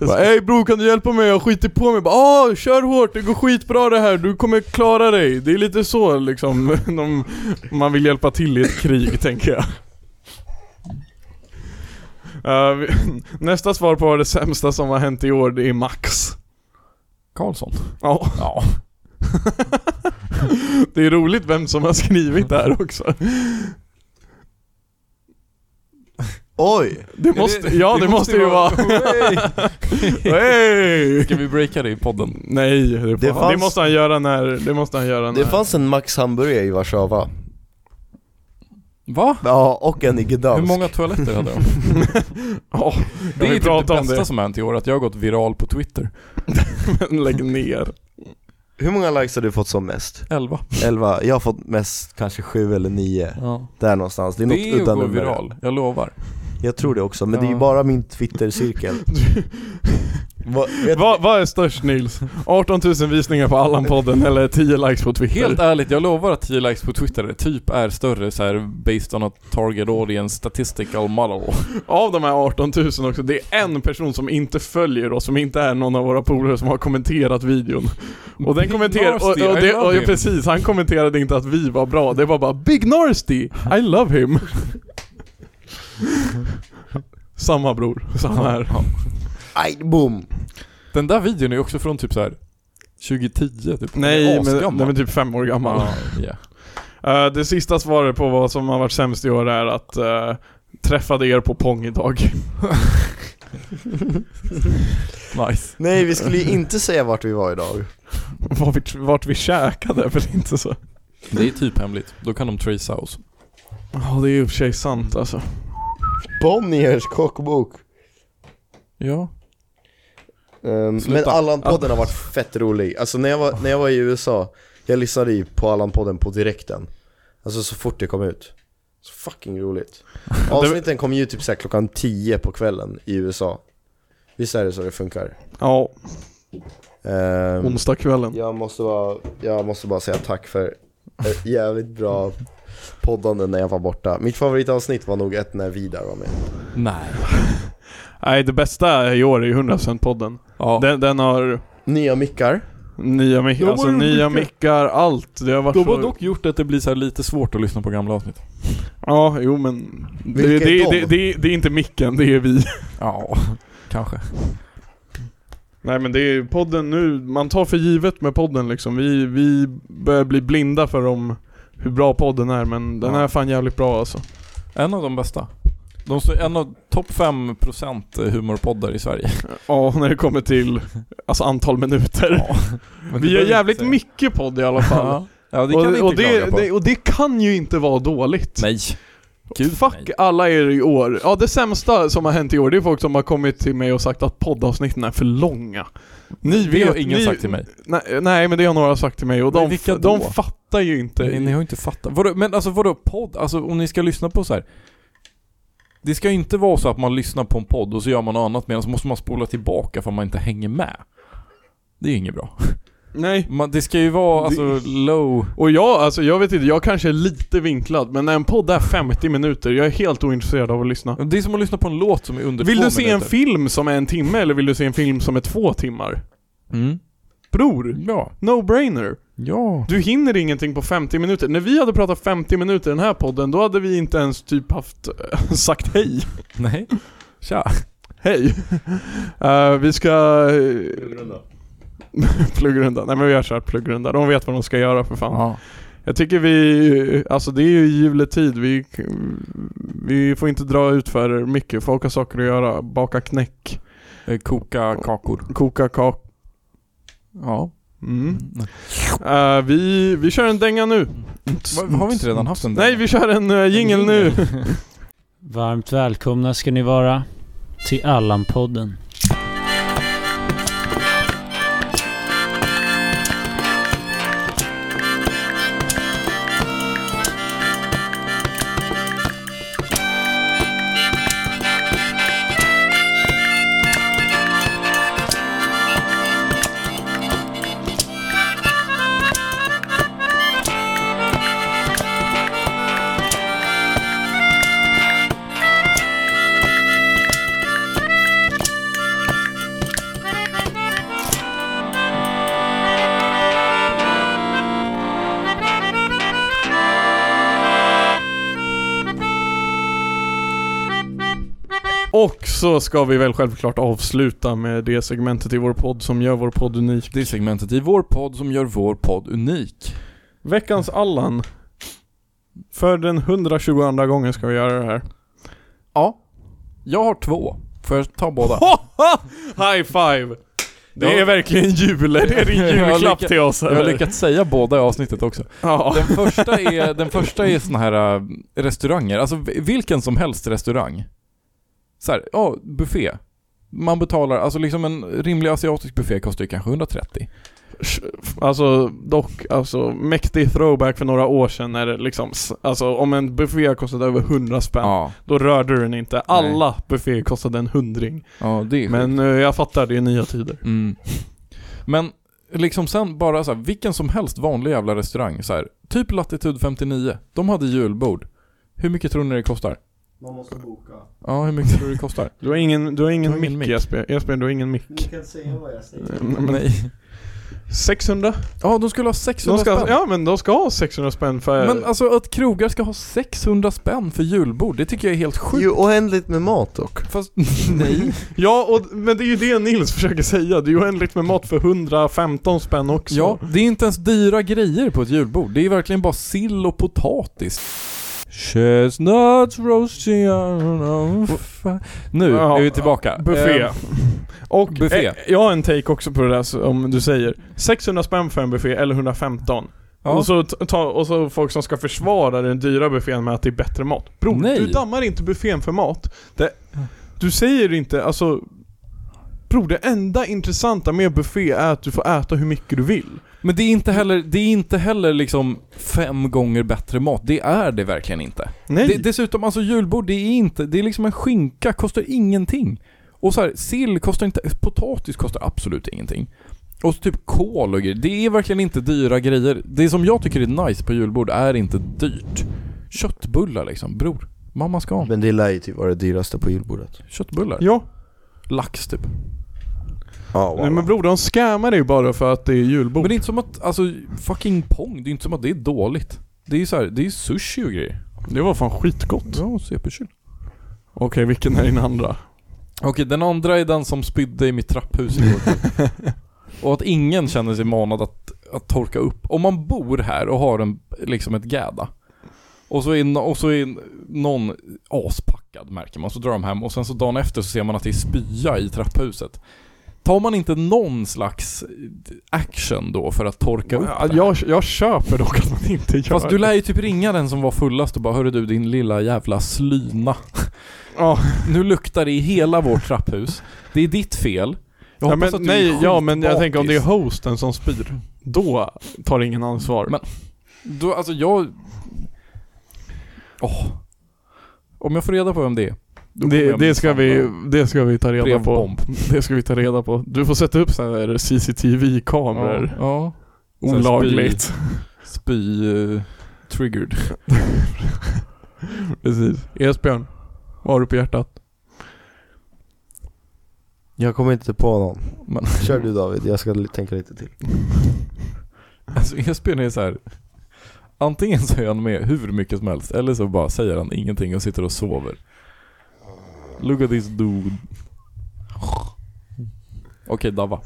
Bara, Hej bror kan du hjälpa mig? Jag har skitit på mig. Bara, ah, kör hårt, det går skitbra det här, du kommer klara dig. Det är lite så liksom, <laughs> de, man vill hjälpa till i ett krig <laughs> tänker jag. Eh, vi- <laughs> nästa svar på vad det sämsta som har hänt i år, det är Max. Karlsson. Ja. Ja. Det är roligt vem som har skrivit det här också. Oj! Det måste, ja det måste ju vara... Hey! Ska vi breaka det i podden? Nej, det, Det får- fanns- det måste han göra när... Det måste han göra när... <laughs> Det fanns en Max hamburgare i Warszawa. Va? Ja, och en i Gdansk. Hur många toaletter hade de? Ja, <laughs> Det är vi ju typ prata det om bästa det? som har hänt i år, att jag har gått viral på Twitter. men lägg ner. Hur många likes har du fått som mest? 11. 11, jag har fått mest kanske 7 eller 9 Ja. Där någonstans, det är något Det är att udda gå nummer viral, jag lovar. Jag tror det också, men det är ju Ja. bara min Twitter-cirkel Va, vet, Vad vad är störst Nils? 18 000 visningar på Allan-podden eller 10 likes på Twitter? Helt ärligt, jag lovar att 10 likes på Twitter typ är större så här based on a target audience statistical model. Av de här 18 000 också, det är en person som inte följer oss, som inte är någon av våra polare som har kommenterat videon. Och den Big kommenterar, och, och, Nasty, I det, love och him. precis, han kommenterade inte att vi var bra, det var bara 'Big Narsty, I love him' Samma bror, samma här. aj, boom! Den där videon är också från typ så här 2010 typ. Den är Nej men asgammal. den är typ fem år gammal. Ja, ja. Eh, det sista svaret på vad som har varit sämst i år är att eh, träffade er på Pong idag. Nice. Nej vi skulle ju inte säga vart vi var idag <laughs> vart, vi, vart vi käkade är väl inte så. Det är typ hemligt, då kan de tracea oss. Ja det är ju i och för sig sant alltså. Bonniers kockbok Ja. Ehm, Men Sluta. Allan-podden har varit fett rolig, alltså när jag var, när jag var i USA Jag lyssnade ju på Allan-podden på direkten Alltså så fort det kom ut Så fucking <laughs> roligt Avsnitten kom ju typ så här klockan 10 på kvällen i USA Visst är det så det funkar? Ja, Mm. Ehm, onsdagskvällen. <laughs> Jag måste bara, jag måste bara säga tack för ett jävligt bra poddande när jag var borta. Mitt favoritavsnitt var nog ett när Vidar var med. Nej. Nej, det bästa i år är ju 100% podden. Ja. Den, den har... Nya mickar, Nya, mic- De har alltså, gjort nya mycket. mickar, allt. Det har varit De så... har dock gjort att det blir så här lite svårt att lyssna på gamla avsnitt. Ja, jo men... Det, det, Vilka är det, de? det, det, är inte micken, det är vi. <laughs> Ja, <laughs> kanske. Nej men det är podden nu, man tar för givet med podden liksom. Vi, vi börjar bli blinda för om hur bra podden är men den Ja. är fan jävligt bra alltså. En av de bästa. De står en av topp 5% humorpoddar i Sverige. Ja, när det kommer till alltså, antal minuter. <laughs> Men det vi gör behöver jävligt inte säga. mycket podd i <laughs> alla fall. Ja, ja det kan och, vi inte och, klaga det, på. det, och det kan ju inte vara dåligt. Nej. Gud, Fuck nej. alla er i år. Ja, det sämsta som har hänt i år det är folk som har kommit till mig och sagt att poddavsnitten är för långa. Ni Det vet, har ingen ni, sagt till mig. Nej, nej, men det har några sagt till mig och Men de, vilka de då? fattar ju inte. Nej, ni har ju inte fattat. Vadå, men alltså vadå podd? Alltså om ni ska lyssna på så här. Det ska ju inte vara så att man lyssnar på en podd och så gör man något annat medan så måste man spola tillbaka för att man inte hänger med. Det är ju inget bra. nej. Man, det ska ju vara alltså low... Och jag, alltså jag vet inte, jag kanske är lite vinklad men när en podd är 50 minuter, jag är helt ointresserad av att lyssna. Det är som att lyssna på en låt som är under Vill två du se en minuter. film som är en timme eller vill du se en film som är två timmar? Mm. Bror, Ja. no-brainer. Ja. Du hinner ingenting på 50 minuter. När vi hade pratat 50 minuter i den här podden, då hade vi inte ens typ haft <laughs> sagt hej. Nej. Tja. Hej. Eh, vi ska... Pluggrunda. pluggrunda. Nej men vi har kört pluggrunda. De vet vad de ska göra för fan. Ja. Jag tycker vi, alltså det är ju juletid, vi, vi får inte dra ut för mycket. Folk har saker att göra, baka knäck, Eh, Koka kakor. koka kak. Ja. Mm. Eh, vi, vi kör en dänga nu. Va- Har vi inte redan haft en? Nej, vi kör en uh, jingel nu. <laughs> Varmt välkomna ska ni vara till Allan-podden. Och så ska vi väl självklart avsluta med det segmentet i vår podd som gör vår podd unik. Det är segmentet i vår podd som gör vår podd unik. Veckans Allan. För den 122 gången ska vi göra det här. Ja. Jag har två. Får jag ta båda? High five! Det Ja. är verkligen <laughs> jul, det är din Jag har julklapp lycka- till oss Jag har eller? lyckats säga båda i avsnittet också. Ja. Den första är, den första är såna här äh, restauranger, alltså v- vilken som helst restaurang. Så här, ja, buffé. Man betalar, alltså liksom en rimlig asiatisk buffé kostar ju kanske 130. Alltså dock, alltså mäktig throwback för några år sedan när det liksom, s- alltså om en buffé kostade över 100 spänn, Ja, då rörde du den inte. Alla bufféer kostade en hundring. ja det är Men eh, jag fattar, det är nya tider. Mm. Men liksom sen bara så här, vilken som helst vanlig jävla restaurang så här, typ Latitude 59, de hade julbord. Hur mycket tror ni det kostar? Man måste boka. Ja, hur mycket tror du det kostar? Du har ingen, du har ingen, Du har ingen mick mick. Jesper, Jesper du har ingen mick. kan säga vad jag säger. Mm, men- 600? Ja, de skulle ha De 600 ska, spänn. ja men de ska ha 600 spänn för... Men alltså att krogar ska ha 600 spänn för julbord, det tycker jag är helt sjukt. Ju oändligt med mat dock. Fast nej. Ja, och, men det är ju det Nils försöker säga. Det är ju oändligt med mat för 115 spänn också. Ja, det är inte ens dyra grejer på ett julbord. Det är verkligen bara sill och potatis. Chestnuts roasting on fire. Nu Ja, är vi tillbaka. Buffé. Eh, Ehm, och buffé. Eh, jag har en take också på det där som du säger. 600 spänn för en buffé eller 115. ja. Och, så t- ta, och så folk som ska försvara den dyra buffén med att det är bättre mat. Bror, Nej. du dammar inte buffén för mat. Det, du säger inte, alltså... Bror, det enda intressanta med buffé är att du får äta hur mycket du vill. Men det är inte heller, det är inte heller liksom fem gånger bättre mat. Det är det verkligen inte. Nej. Det, dessutom, alltså julbord, det är inte, det är liksom en skinka, kostar ingenting. Och så här, sill kostar inte, potatis kostar absolut ingenting. Och så typ kål och grejer. Det är verkligen inte dyra grejer. Det som jag tycker är nice på julbord är inte dyrt. Köttbullar liksom, bror. Mamma ska ha. Men det lär ju typ vara det dyraste på julbordet. Köttbullar. Ja. Lax typ. Ja, Nej men bror, de scammar dig bara för att det är julbord. Men det är inte som att, alltså fucking pong, det är inte som att det är dåligt. Det är ju så här, det är ju sushi och grejer. Det var fan skitgott. Ja, CP-kyl. Okej, vilken är din andra? Okej, den andra är den som spydde i mitt <laughs> trapphus igår kväll. Och att ingen känner sig manad att, att torka upp. Om man bor här och har en, liksom ett gäda. Och så är, no- och så är någon aspackad märker man, så drar de hem och sen så dagen efter så ser man att det är spya i trapphuset. Tar man inte någon slags eh, action då för att torka upp Ja, det? jag, jag köper dock att man inte gör Fast du det. lär ju typ ringa den som var fullast och bara Hörru du din lilla jävla slyna Ja, Nu luktar det i hela vårt trapphus Det är ditt fel ja, Jag hoppas men, att du är nej, ja men jag skitbakis. tänker om det är hosten som spyr. Då tar ingen ansvar. Men- Då, alltså jag... Åh Om jag får reda på vem det är då kommer det, jag det, minsann ska vi, det ska vi ta ha reda på. brevbomb. <laughs> Det ska vi ta reda på. Du får sätta upp sådana här Ja, CCTV-kameror. ja. Sen Olagligt. Spy... eh, triggered <laughs> Precis. Esbjörn, vad har du på hjärtat? Jag kommer inte på någon. Men <laughs> Kör du David, jag ska li- tänka lite till. alltså Esbjörn är så här. Antingen så är han med hur mycket som helst eller så bara säger han ingenting och sitter och sover Look at this dude Okej Dava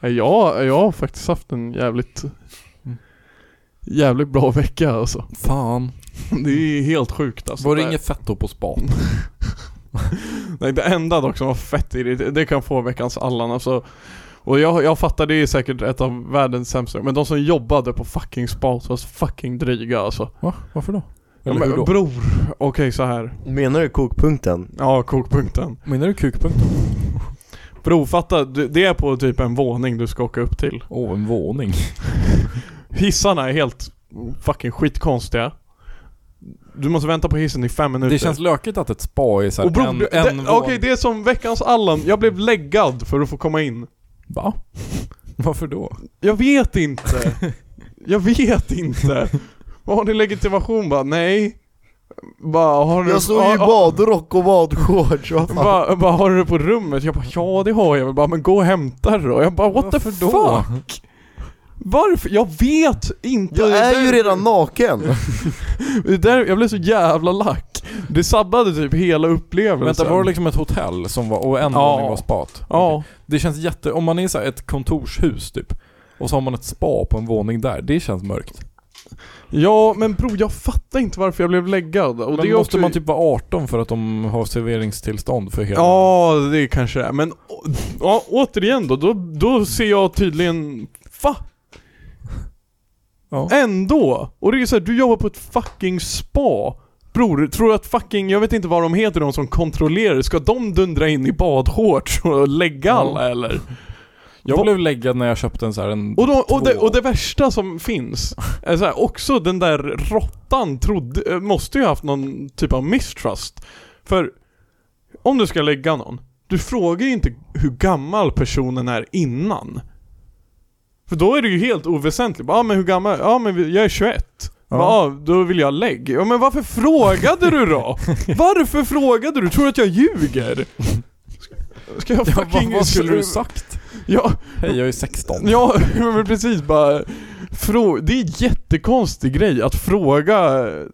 Ja, jag, jag har faktiskt haft en jävligt Jävligt bra vecka alltså. Mm. Fan <laughs> Det är helt sjukt alltså. Var det Det- inget fett då på spat? Nej, det enda dock som var fett irriterande, det kan få veckans Allan alltså. Och jag, jag fattar, det är säkert ett av världens sämsta, men de som jobbade på fucking spat var så fucking dryga alltså. Va? Varför då? Ja, Eller men, hur då? Bror, okej så här. Menar du kokpunkten? Ja, kokpunkten. Menar du kukpunkten? Bror fatta, du- det är på typ en våning du ska åka upp till. Åh, en våning Hissarna är helt fucking skitkonstiga. Du måste vänta på hissen i fem minuter. Det känns lökigt att ett spa är såhär Och bror, en, det- en det- Okej, det är som veckans Allan. Jag blev läggad för att få komma in. Va? <laughs> Varför då? Jag vet <laughs> inte. Jag vet inte. Vad har ni legitimation? Bara, nej. Bara, har ni, Jag står ju i ah, badrock och badshorts, vad ah, fan? bara, bara, har du det på rummet? Jag bara, ja det har jag väl. Bara, men gå och hämta det då. Jag bara, what the Varför fuck? då? Varför? Jag vet inte. Jag Det är där- ju redan naken! det där, jag blev så jävla lack. Det sabbade typ hela upplevelsen. Vänta, var det liksom ett hotell som var, och en Ja. våning var spat? Ja. Det känns jätte, om man är så här ett kontorshus typ och så har man ett spa på en våning där, det känns mörkt. Ja, men bror jag fattar inte varför jag blev läggad. Och Men det är måste också... man typ vara 18 för att de har serveringstillstånd för hela... Ja, det kanske det är. Men å- ja, återigen då, då, då ser jag tydligen... Va? Ja. Ändå! Och det är så här, du jobbar på ett fucking spa. Bror, tror du att fucking, jag vet inte vad de heter de som kontrollerar, ska de dundra in i badshorts och lägga Ja. alla eller? Jag Va- blev läggad när jag köpte en så här en... Och, de, och, det, två. och det värsta som finns, är så här, också den där råttan trodde, eh, måste ju ha haft någon typ av misstrust. För om du ska lägga någon, du frågar ju inte hur gammal personen är innan. För då är det ju helt oväsentligt. Ja ah, men hur gammal, ja ah, men vi- jag är 21. Ja. Ja. Ah, då vill jag lägg. Ja men varför frågade du <laughs> då? Varför frågade du? Tror du att jag ljuger? Ska jag <laughs> ja, vad, fucking... vad skulle du sagt? Ja, Hej, jag är 16. Ja, <laughs> men precis bara frå- Det är en jättekonstig grej att fråga eh,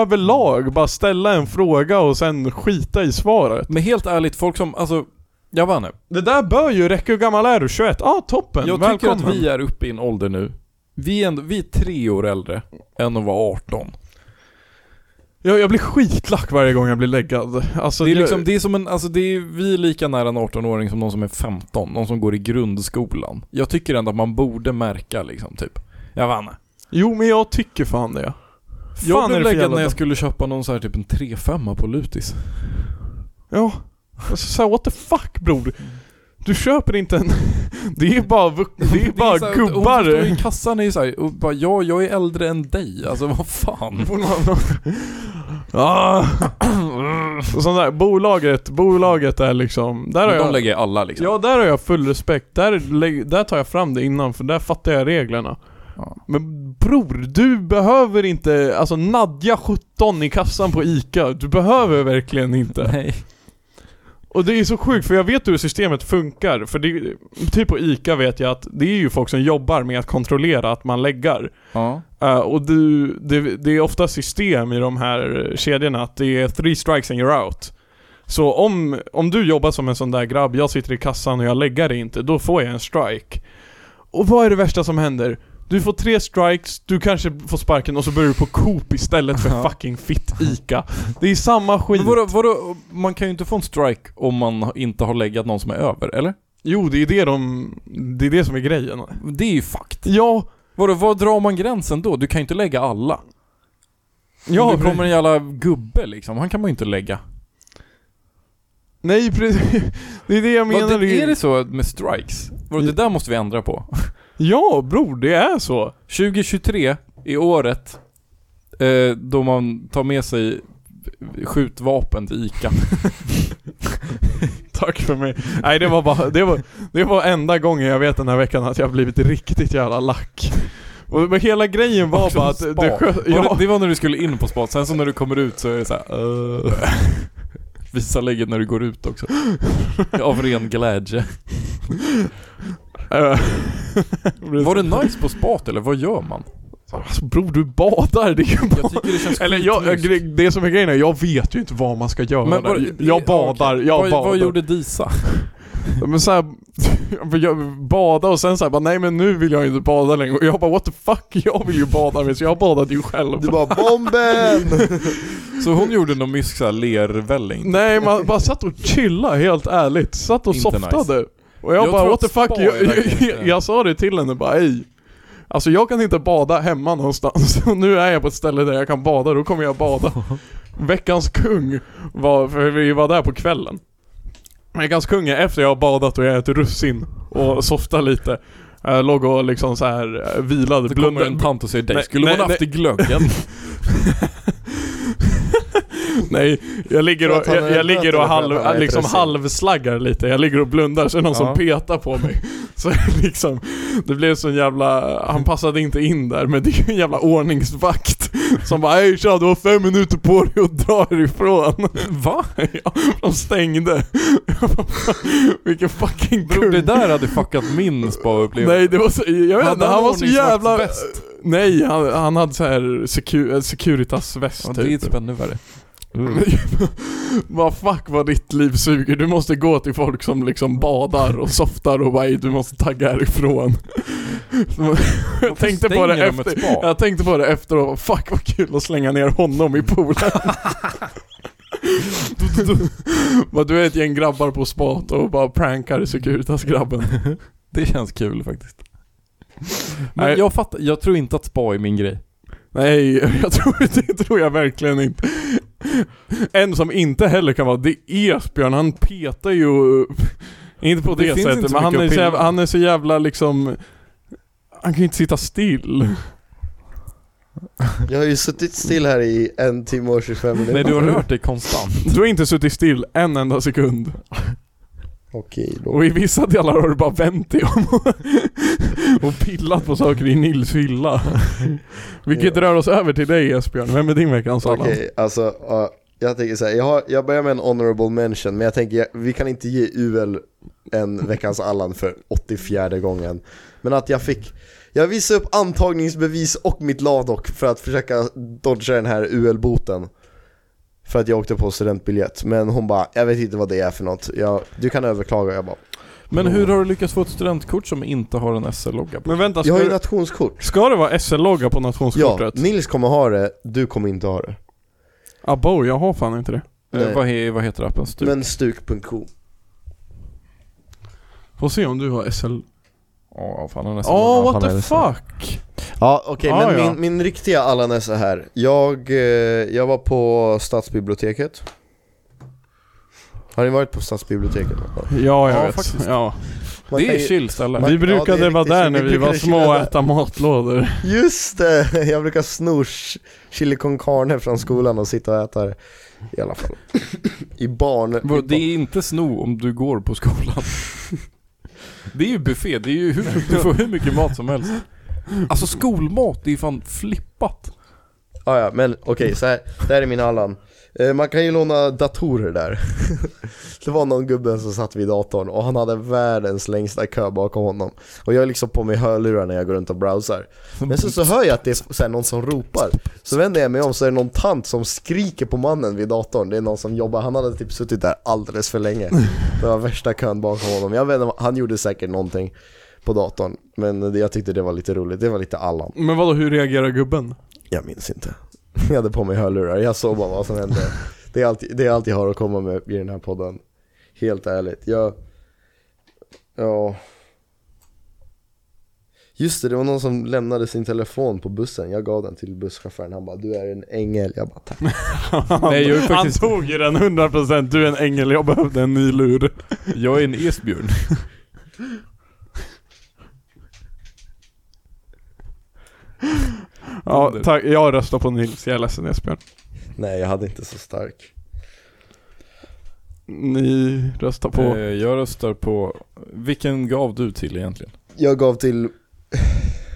överlag, bara ställa en fråga och sen skita i svaret. Men helt ärligt, folk som, alltså, jag vann nu. Det där bör ju räcka, hur gammal är du? 21? Ah, toppen! Jag tycker Välkommen! att vi är uppe i en ålder nu. Vi är, ändå, vi är tre år äldre än att vara 18. jag, jag blir skitlack varje gång jag blir läggad. Alltså, det är jag- liksom, det är som en, alltså det är, vi är lika nära en 18-åring som någon som är 15, någon som går i grundskolan. Jag tycker ändå att man borde märka liksom, typ. Jag vann. Jo men jag tycker fan det. Jag är blev det för läggad jävla när jag dum- skulle köpa någon så här typ en 3-5 på Lutis. Ja. Alltså såhär, what the fuck bror? Du köper inte en... <laughs> Det är bara, vux- det är bara så här, gubbar. Hon står i kassan är ju såhär, och bara ja, jag är äldre än dig. Alltså <laughs> vad fan. Ah. <clears throat> Och sånt där, bolaget, bolaget är liksom... Där har Men de jag, lägger alla liksom. ja, där har jag full respekt. Där, lä- där tar jag fram det innan för där fattar jag reglerna. Ja. Men bror, du behöver inte, alltså <laughs> Nadja 17 i kassan på ICA, du behöver verkligen inte. Nej. Och det är så sjukt för jag vet hur systemet funkar. För det, typ på ICA vet jag att det är ju folk som jobbar med att kontrollera att man läggar. Ja. Eh, och du, det, det är ofta system i de här kedjorna att det är three strikes and you're out. Så om, om du jobbar som en sån där grabb, jag sitter i kassan och jag lägger det inte, då får jag en strike. Och vad är det värsta som händer? Du får tre strikes, du kanske får sparken och så börjar du på Coop istället för Ja. fucking fitt ICA. Det är samma skit. Men vadå, vadå, man kan ju inte få en strike om man inte har legat någon som är över, eller? Jo, det är det de, det är det som är grejen. Det är ju fakt. Ja, Vadå, var drar man gränsen då? Du kan ju inte lägga alla. ja Om det kommer en jävla gubbe liksom, han kan man ju inte lägga. Nej precis, <laughs> det är det jag menar. Vad, det, är det så med strikes? Vadå, det där måste vi ändra på. Ja bror, det är så. 2023 i året eh, då man tar med sig skjutvapen till <laughs> ICA. Tack för mig. Nej det var bara, det var, det var enda gången jag vet den här veckan att jag har blivit riktigt jävla lack. Och, men hela grejen var bara att det Spa. skö- Var det, ja, det var när du skulle in på spat, sen så när du kommer ut så är det så här. eh, Visa lägget när du går <laughs> ut också. Av ren glädje. eh, Var det nice på spat eller vad gör man? Äh. alltså, bror du badar, det är ju bara... Jag tycker det känns Eller jag, jag, skitmyst. gre- det som är grejen är, jag vet ju inte vad man ska göra Men var- där. Jag badar, okej. jag vad, badar. Vad gjorde Disa? Men såhär, <laughs> jag badade och sen såhär bara nej men nu vill jag inte bada längre och jag bara what the fuck, jag vill ju bada mer så jag badade ju själv. Du bara 'Bomben!' Så hon gjorde någon mysk såhär lervälling? Nej man bara satt och chilla helt ärligt, satt och Inte softade. Och jag, Jag bara tror what the att fuck, spa är jag, jag, verkligen jag, inte- jag sa det till henne bara hej. Alltså jag kan inte bada hemma någonstans <laughs> och nu är jag på ett ställe där jag kan bada, då kommer jag <laughs> bada. Veckans kung var, för vi var där på kvällen. Veckans kung är efter jag har badat och jag ätit russin och softat lite. Jag låg och liksom så här eh, vilade, Då kommer en blundade. tant och säger dig, Nej, skulle nej, hon haft i nej. <laughs> glöggen? <laughs> Nej, jag ligger och, Jag tar jag, jag en ligger röt och och jag tar halv, en liksom russin. halvslaggar lite. Jag ligger och blundar, så är det någon Ja. som petar på mig. <laughs> Så liksom, det blev sån jävla, han passade inte in där, men det är ju en jävla ordningsvakt. Som bara Ey tja, du har fem minuter på dig att dra härifrån. <laughs> Va? <laughs> Ja, de stängde. Vilken fucking Bror kung. det där hade fuckat min spa-upplevelse. Nej det var så, jag vet Hade inte, han han var så ordningsvakt jävla... bäst? Nej, han, han hade så här secu, Securitas-väst Ja, typ. det är typ ännu <laughs> värre. Mm. <laughs> Vad fuck vad ditt liv suger, du måste gå till folk som liksom badar och softar och bara "Ey, du måste tagga härifrån. Jag tänkte, på det stänger de ett efter, spa? jag tänkte på det efteråt, fuck vad kul att slänga ner honom i <laughs> poolen. <laughs> Du- du- Bara, du är ett gäng grabbar på spat och bara prankar Securitas-grabben. Det känns kul faktiskt. Men Nej. jag fattar, jag tror inte att spa är min grej. Nej, <laughs> jag tror, det tror jag verkligen inte. En som inte heller kan vara, det är Esbjörn. Han petar ju... Inte på Det det, finns inte sättet, så men han mycket är, så att pilla jävla, med. han är så jävla liksom... Han kan ju inte sitta still. <laughs> Jag har ju suttit still här i en timme och 25 minuter Nej du har rört dig konstant. Du har inte suttit still en enda sekund. Okej då Och i vissa delar har du bara vänt dig om och- och pillat på saker i Nils hylla. Vilket Ja. rör oss över till dig Esbjörn. Vem är din veckans Okej, Allan? alltså ja, jag tänker såhär, jag, har- jag börjar med en honorable mention men jag tänker, jag, vi kan inte ge UL en veckans Allan för 84 gången Men att jag fick, jag visade upp antagningsbevis och mitt Ladok för att försöka dodga den här UL-boten För att jag åkte på studentbiljett, men hon bara 'Jag vet inte vad det är för något, jag, du kan överklaga' Jag bara Men hur har du lyckats få ett studentkort som inte har en SL-logga på? Men vänta, Jag ska, har ju du, nationskort ska det vara SL-logga på Ja, nationskortet? Nils kommer ha det, du kommer inte ha det Abo, jag har fan inte det. Eh, Nej. vad, he, vad heter appen? Stup? Men stuk.com Får se om du har SL... Ja, fan han är Alltså, nästan- Åh, ja, what han är the nästan- fuck! Ja okej, Ah, men ja. Min, min riktiga Allan är så här. Jag, eh, jag var på stadsbiblioteket Har ni varit på stadsbiblioteket? någon gång? Ja, jag Ja, vet. faktiskt. Ja. Man Det kan är ju- chill ställe. Man- Vi ja, det är brukade vara riktigt där så. när Vi vi var brukade små chilla och där. äta matlådor. Just det! <laughs> Jag brukar sno ch- chili con carne från skolan och sitta och äta det I alla fall I barn... Vadå, i Det är inte sno om du går <laughs> på skolan. Det är ju buffé, det är ju hur, du får hur mycket mat som helst. Alltså skolmat, det är ju fan flippat. Ah, ja, men okej, så här, det här är min Allan. Eh, man kan ju låna datorer där. <laughs> det var någon gubbe som satt vid datorn och han hade världens längsta kö bakom honom. Och jag har liksom på mig hörlurar när jag går runt och browsar. Men sen så hör jag att det är så här, någon som ropar. Så vänder jag mig om så är det någon tant som skriker på mannen vid datorn. Det är någon som jobbar, han hade typ suttit där alldeles för länge. Det var värsta kön bakom honom. Jag vet inte, han gjorde säkert någonting på datorn. Men det- jag tyckte det var lite roligt, det var lite Allan. Men vadå, hur reagerar gubben? Jag minns inte. <laughs> Jag hade på mig hörlurar, jag såg bara vad som hände. Det är allt, det är allt jag har att komma med i den här podden. Helt ärligt. Jag... Ja... Just det, det var någon som lämnade sin telefon på bussen. Jag gav den till busschauffören. Han bara 'Du är en ängel' Jag bara 'Tack' Nej, jag är Han faktiskt- tog ju den 100%, du är en ängel, jag behövde en ny lur. Jag är en esbjörn. Ja, tack. Jag röstar på Nils, jag är ledsen Esbjörn. Nej, jag hade inte så stark. Ni röstar <laughs> på... På. Eh, Jag röstar på, vilken gav du till egentligen? Jag gav till...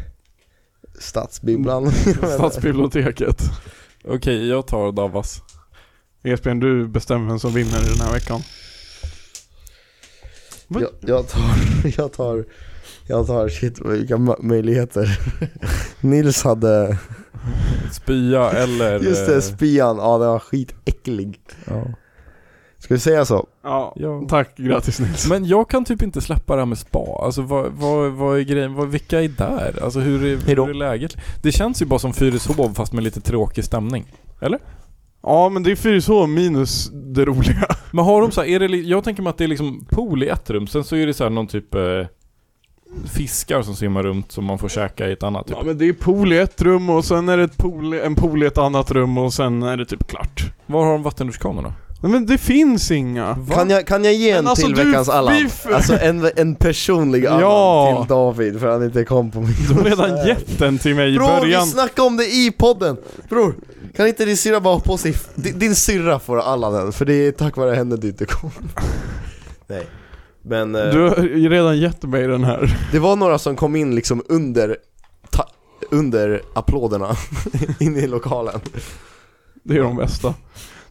<sighs> Stadsbibblan. <laughs> Stadsbiblioteket. Okej, jag tar Davas. Esbjörn, du bestämmer vem som vinner den här veckan. jag, jag tar... Jag tar... Jag tar... Shit, vilka ma- möjligheter. <laughs> Nils hade... Spya eller... Just eh, det, spian. Ja, den var skitäcklig. ja. Ska vi säga så? Ja, Ja. tack. Grattis Nils. Men jag kan typ inte släppa det här med spa. Alltså vad, vad, vad är grejen? Vad, vilka är där? Alltså hur är, Hejdå. hur är läget? Det känns ju bara som Fyrishov fast med lite tråkig stämning. Ja, men det är Fyrishov minus det roliga. Men har de så här, är det, li- jag tänker mig att det är liksom pool i ett rum, sen så är det så här någon typ eh, fiskar som simmar runt som man får käka i ett annat typ. Ja, men det är pool i ett rum och sen är det ett pool, en pool i ett annat rum och sen är det typ klart. Var har de vattendutschkanorna? Nej, men det finns inga. Kan jag, kan jag ge en Men alltså, till du- veckans Allan? vi f- Alltså en, en personlig <laughs> Allan Ja. till David för han inte kom på min Du har redan gett den till mig i Bror, vi början. snackade om det i podden! Bror, kan inte din syrra bara ha på sig... f- Din, din syrra får Allan den, för det är tack vare henne du <laughs> inte kom. Nej. Men eh, Du har ju redan gett mig den här. det var några som kom in liksom under, ta, under applåderna, <laughs> in i lokalen. Det är de bästa.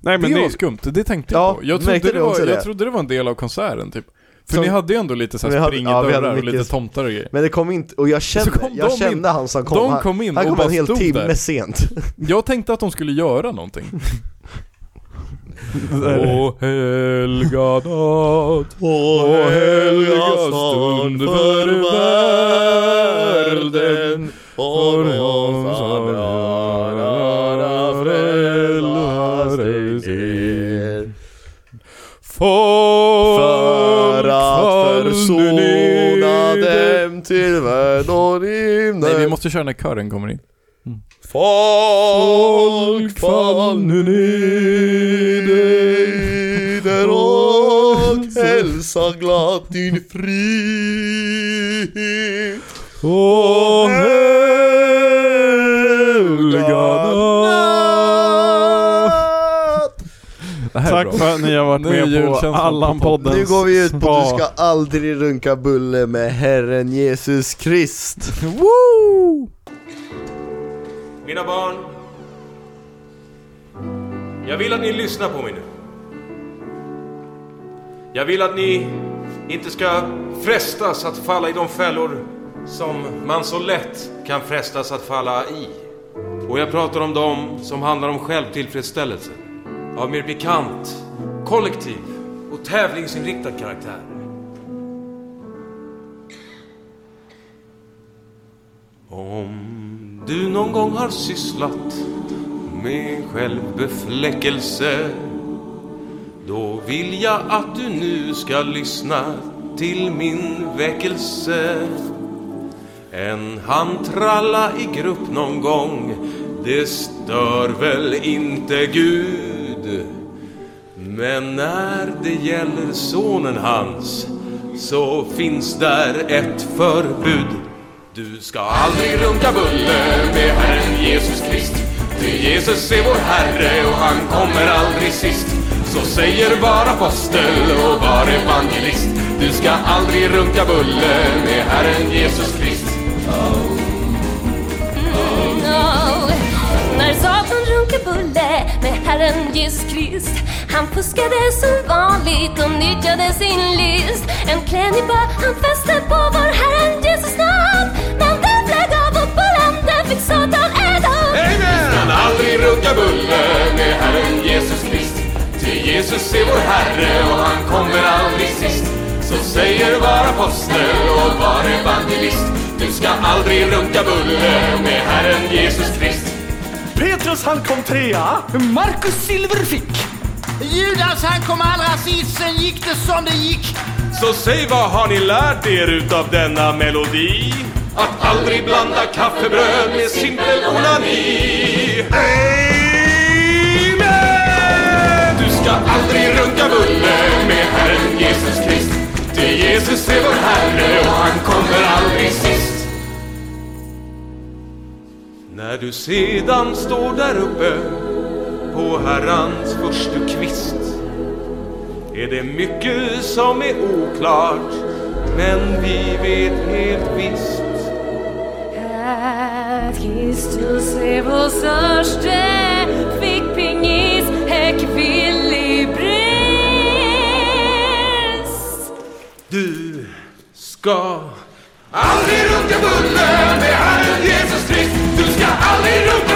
Nej men det, det... var skumt, det tänkte Ja, jag på. Jag trodde, märkte det du var, också jag det? trodde det var en del av konserten typ. För Som- ni hade ju ändå lite Vi såhär hade- ja, vi springdörrar hade och lite mycket- tomtar och grejer. Men det kom inte, och jag kände, kom de jag in. kände han som kom. De Han- kom in Han och kom bara en hel stod timme där. sent. Jag tänkte att de skulle göra någonting. Åh helga natt, åh helga stund för världen. och oss andra frälsas till Folk För att fall försona ner. dem till värld och Nej vi rymden måste köra när kören kommer in. Folk fall nu nider och hälsa glatt din frihet Åh helga natt. Det här är Tack bra. för att ni har varit Nu är med på julkänslan på Allan-podden. Nu går vi ut på att du ska aldrig runka bulle med Herren Jesus Krist Woo! Mina barn. Jag vill att ni lyssnar på mig nu. Jag vill att ni inte ska frestas att falla i de fällor som man så lätt kan frestas att falla i. Och jag pratar om dem som handlar om självtillfredsställelse. Av mer pikant, kollektiv och tävlingsinriktad karaktär. Om du någon gång har sysslat med självbefläckelse då vill jag att du nu ska lyssna till min väckelse En handtralla i grupp någon gång det stör väl inte Gud men när det gäller sonen hans så finns där ett förbud. Du ska aldrig runka bulle med Herren Jesus Krist. Ty Jesus är vår Herre och han kommer aldrig sist. Så säger var apostel och var evangelist. Du ska aldrig runka bulle med Herren Jesus Krist. No, no, Där satt en runkebulle med Herren Jesus Krist. Han fuskade som vanligt och nyttjade sin list. En klänning bar han fäste på var Herren Jesus namn. Men den flög av och bullen den fick Satan äta upp. Kan aldrig runka bulle med Herren Jesus Krist. Till Jesus är vår Herre och han kommer aldrig sist. Så säger var apostel och var evangelist. Du ska aldrig runka bulle med Herren Jesus Krist. Petrus han kom trea. Marcus Silver fick. Judas han kom allra sist, sen gick det som det gick. Så säg vad har ni lärt er utav denna melodi? Att aldrig blanda kaffebröd med simpel onani. Amen! Du ska aldrig runka bulle med Herren Jesus Krist. Till Jesus är vår Herre och han kommer aldrig sist. När du sedan står där uppe på Herrans första kvist är det mycket som är oklart men vi vet helt visst Att Kristus är vår störste fick pingis ekvilibris. Du ska aldrig runka bulle med Herren Jesus Krist Du ska aldrig runka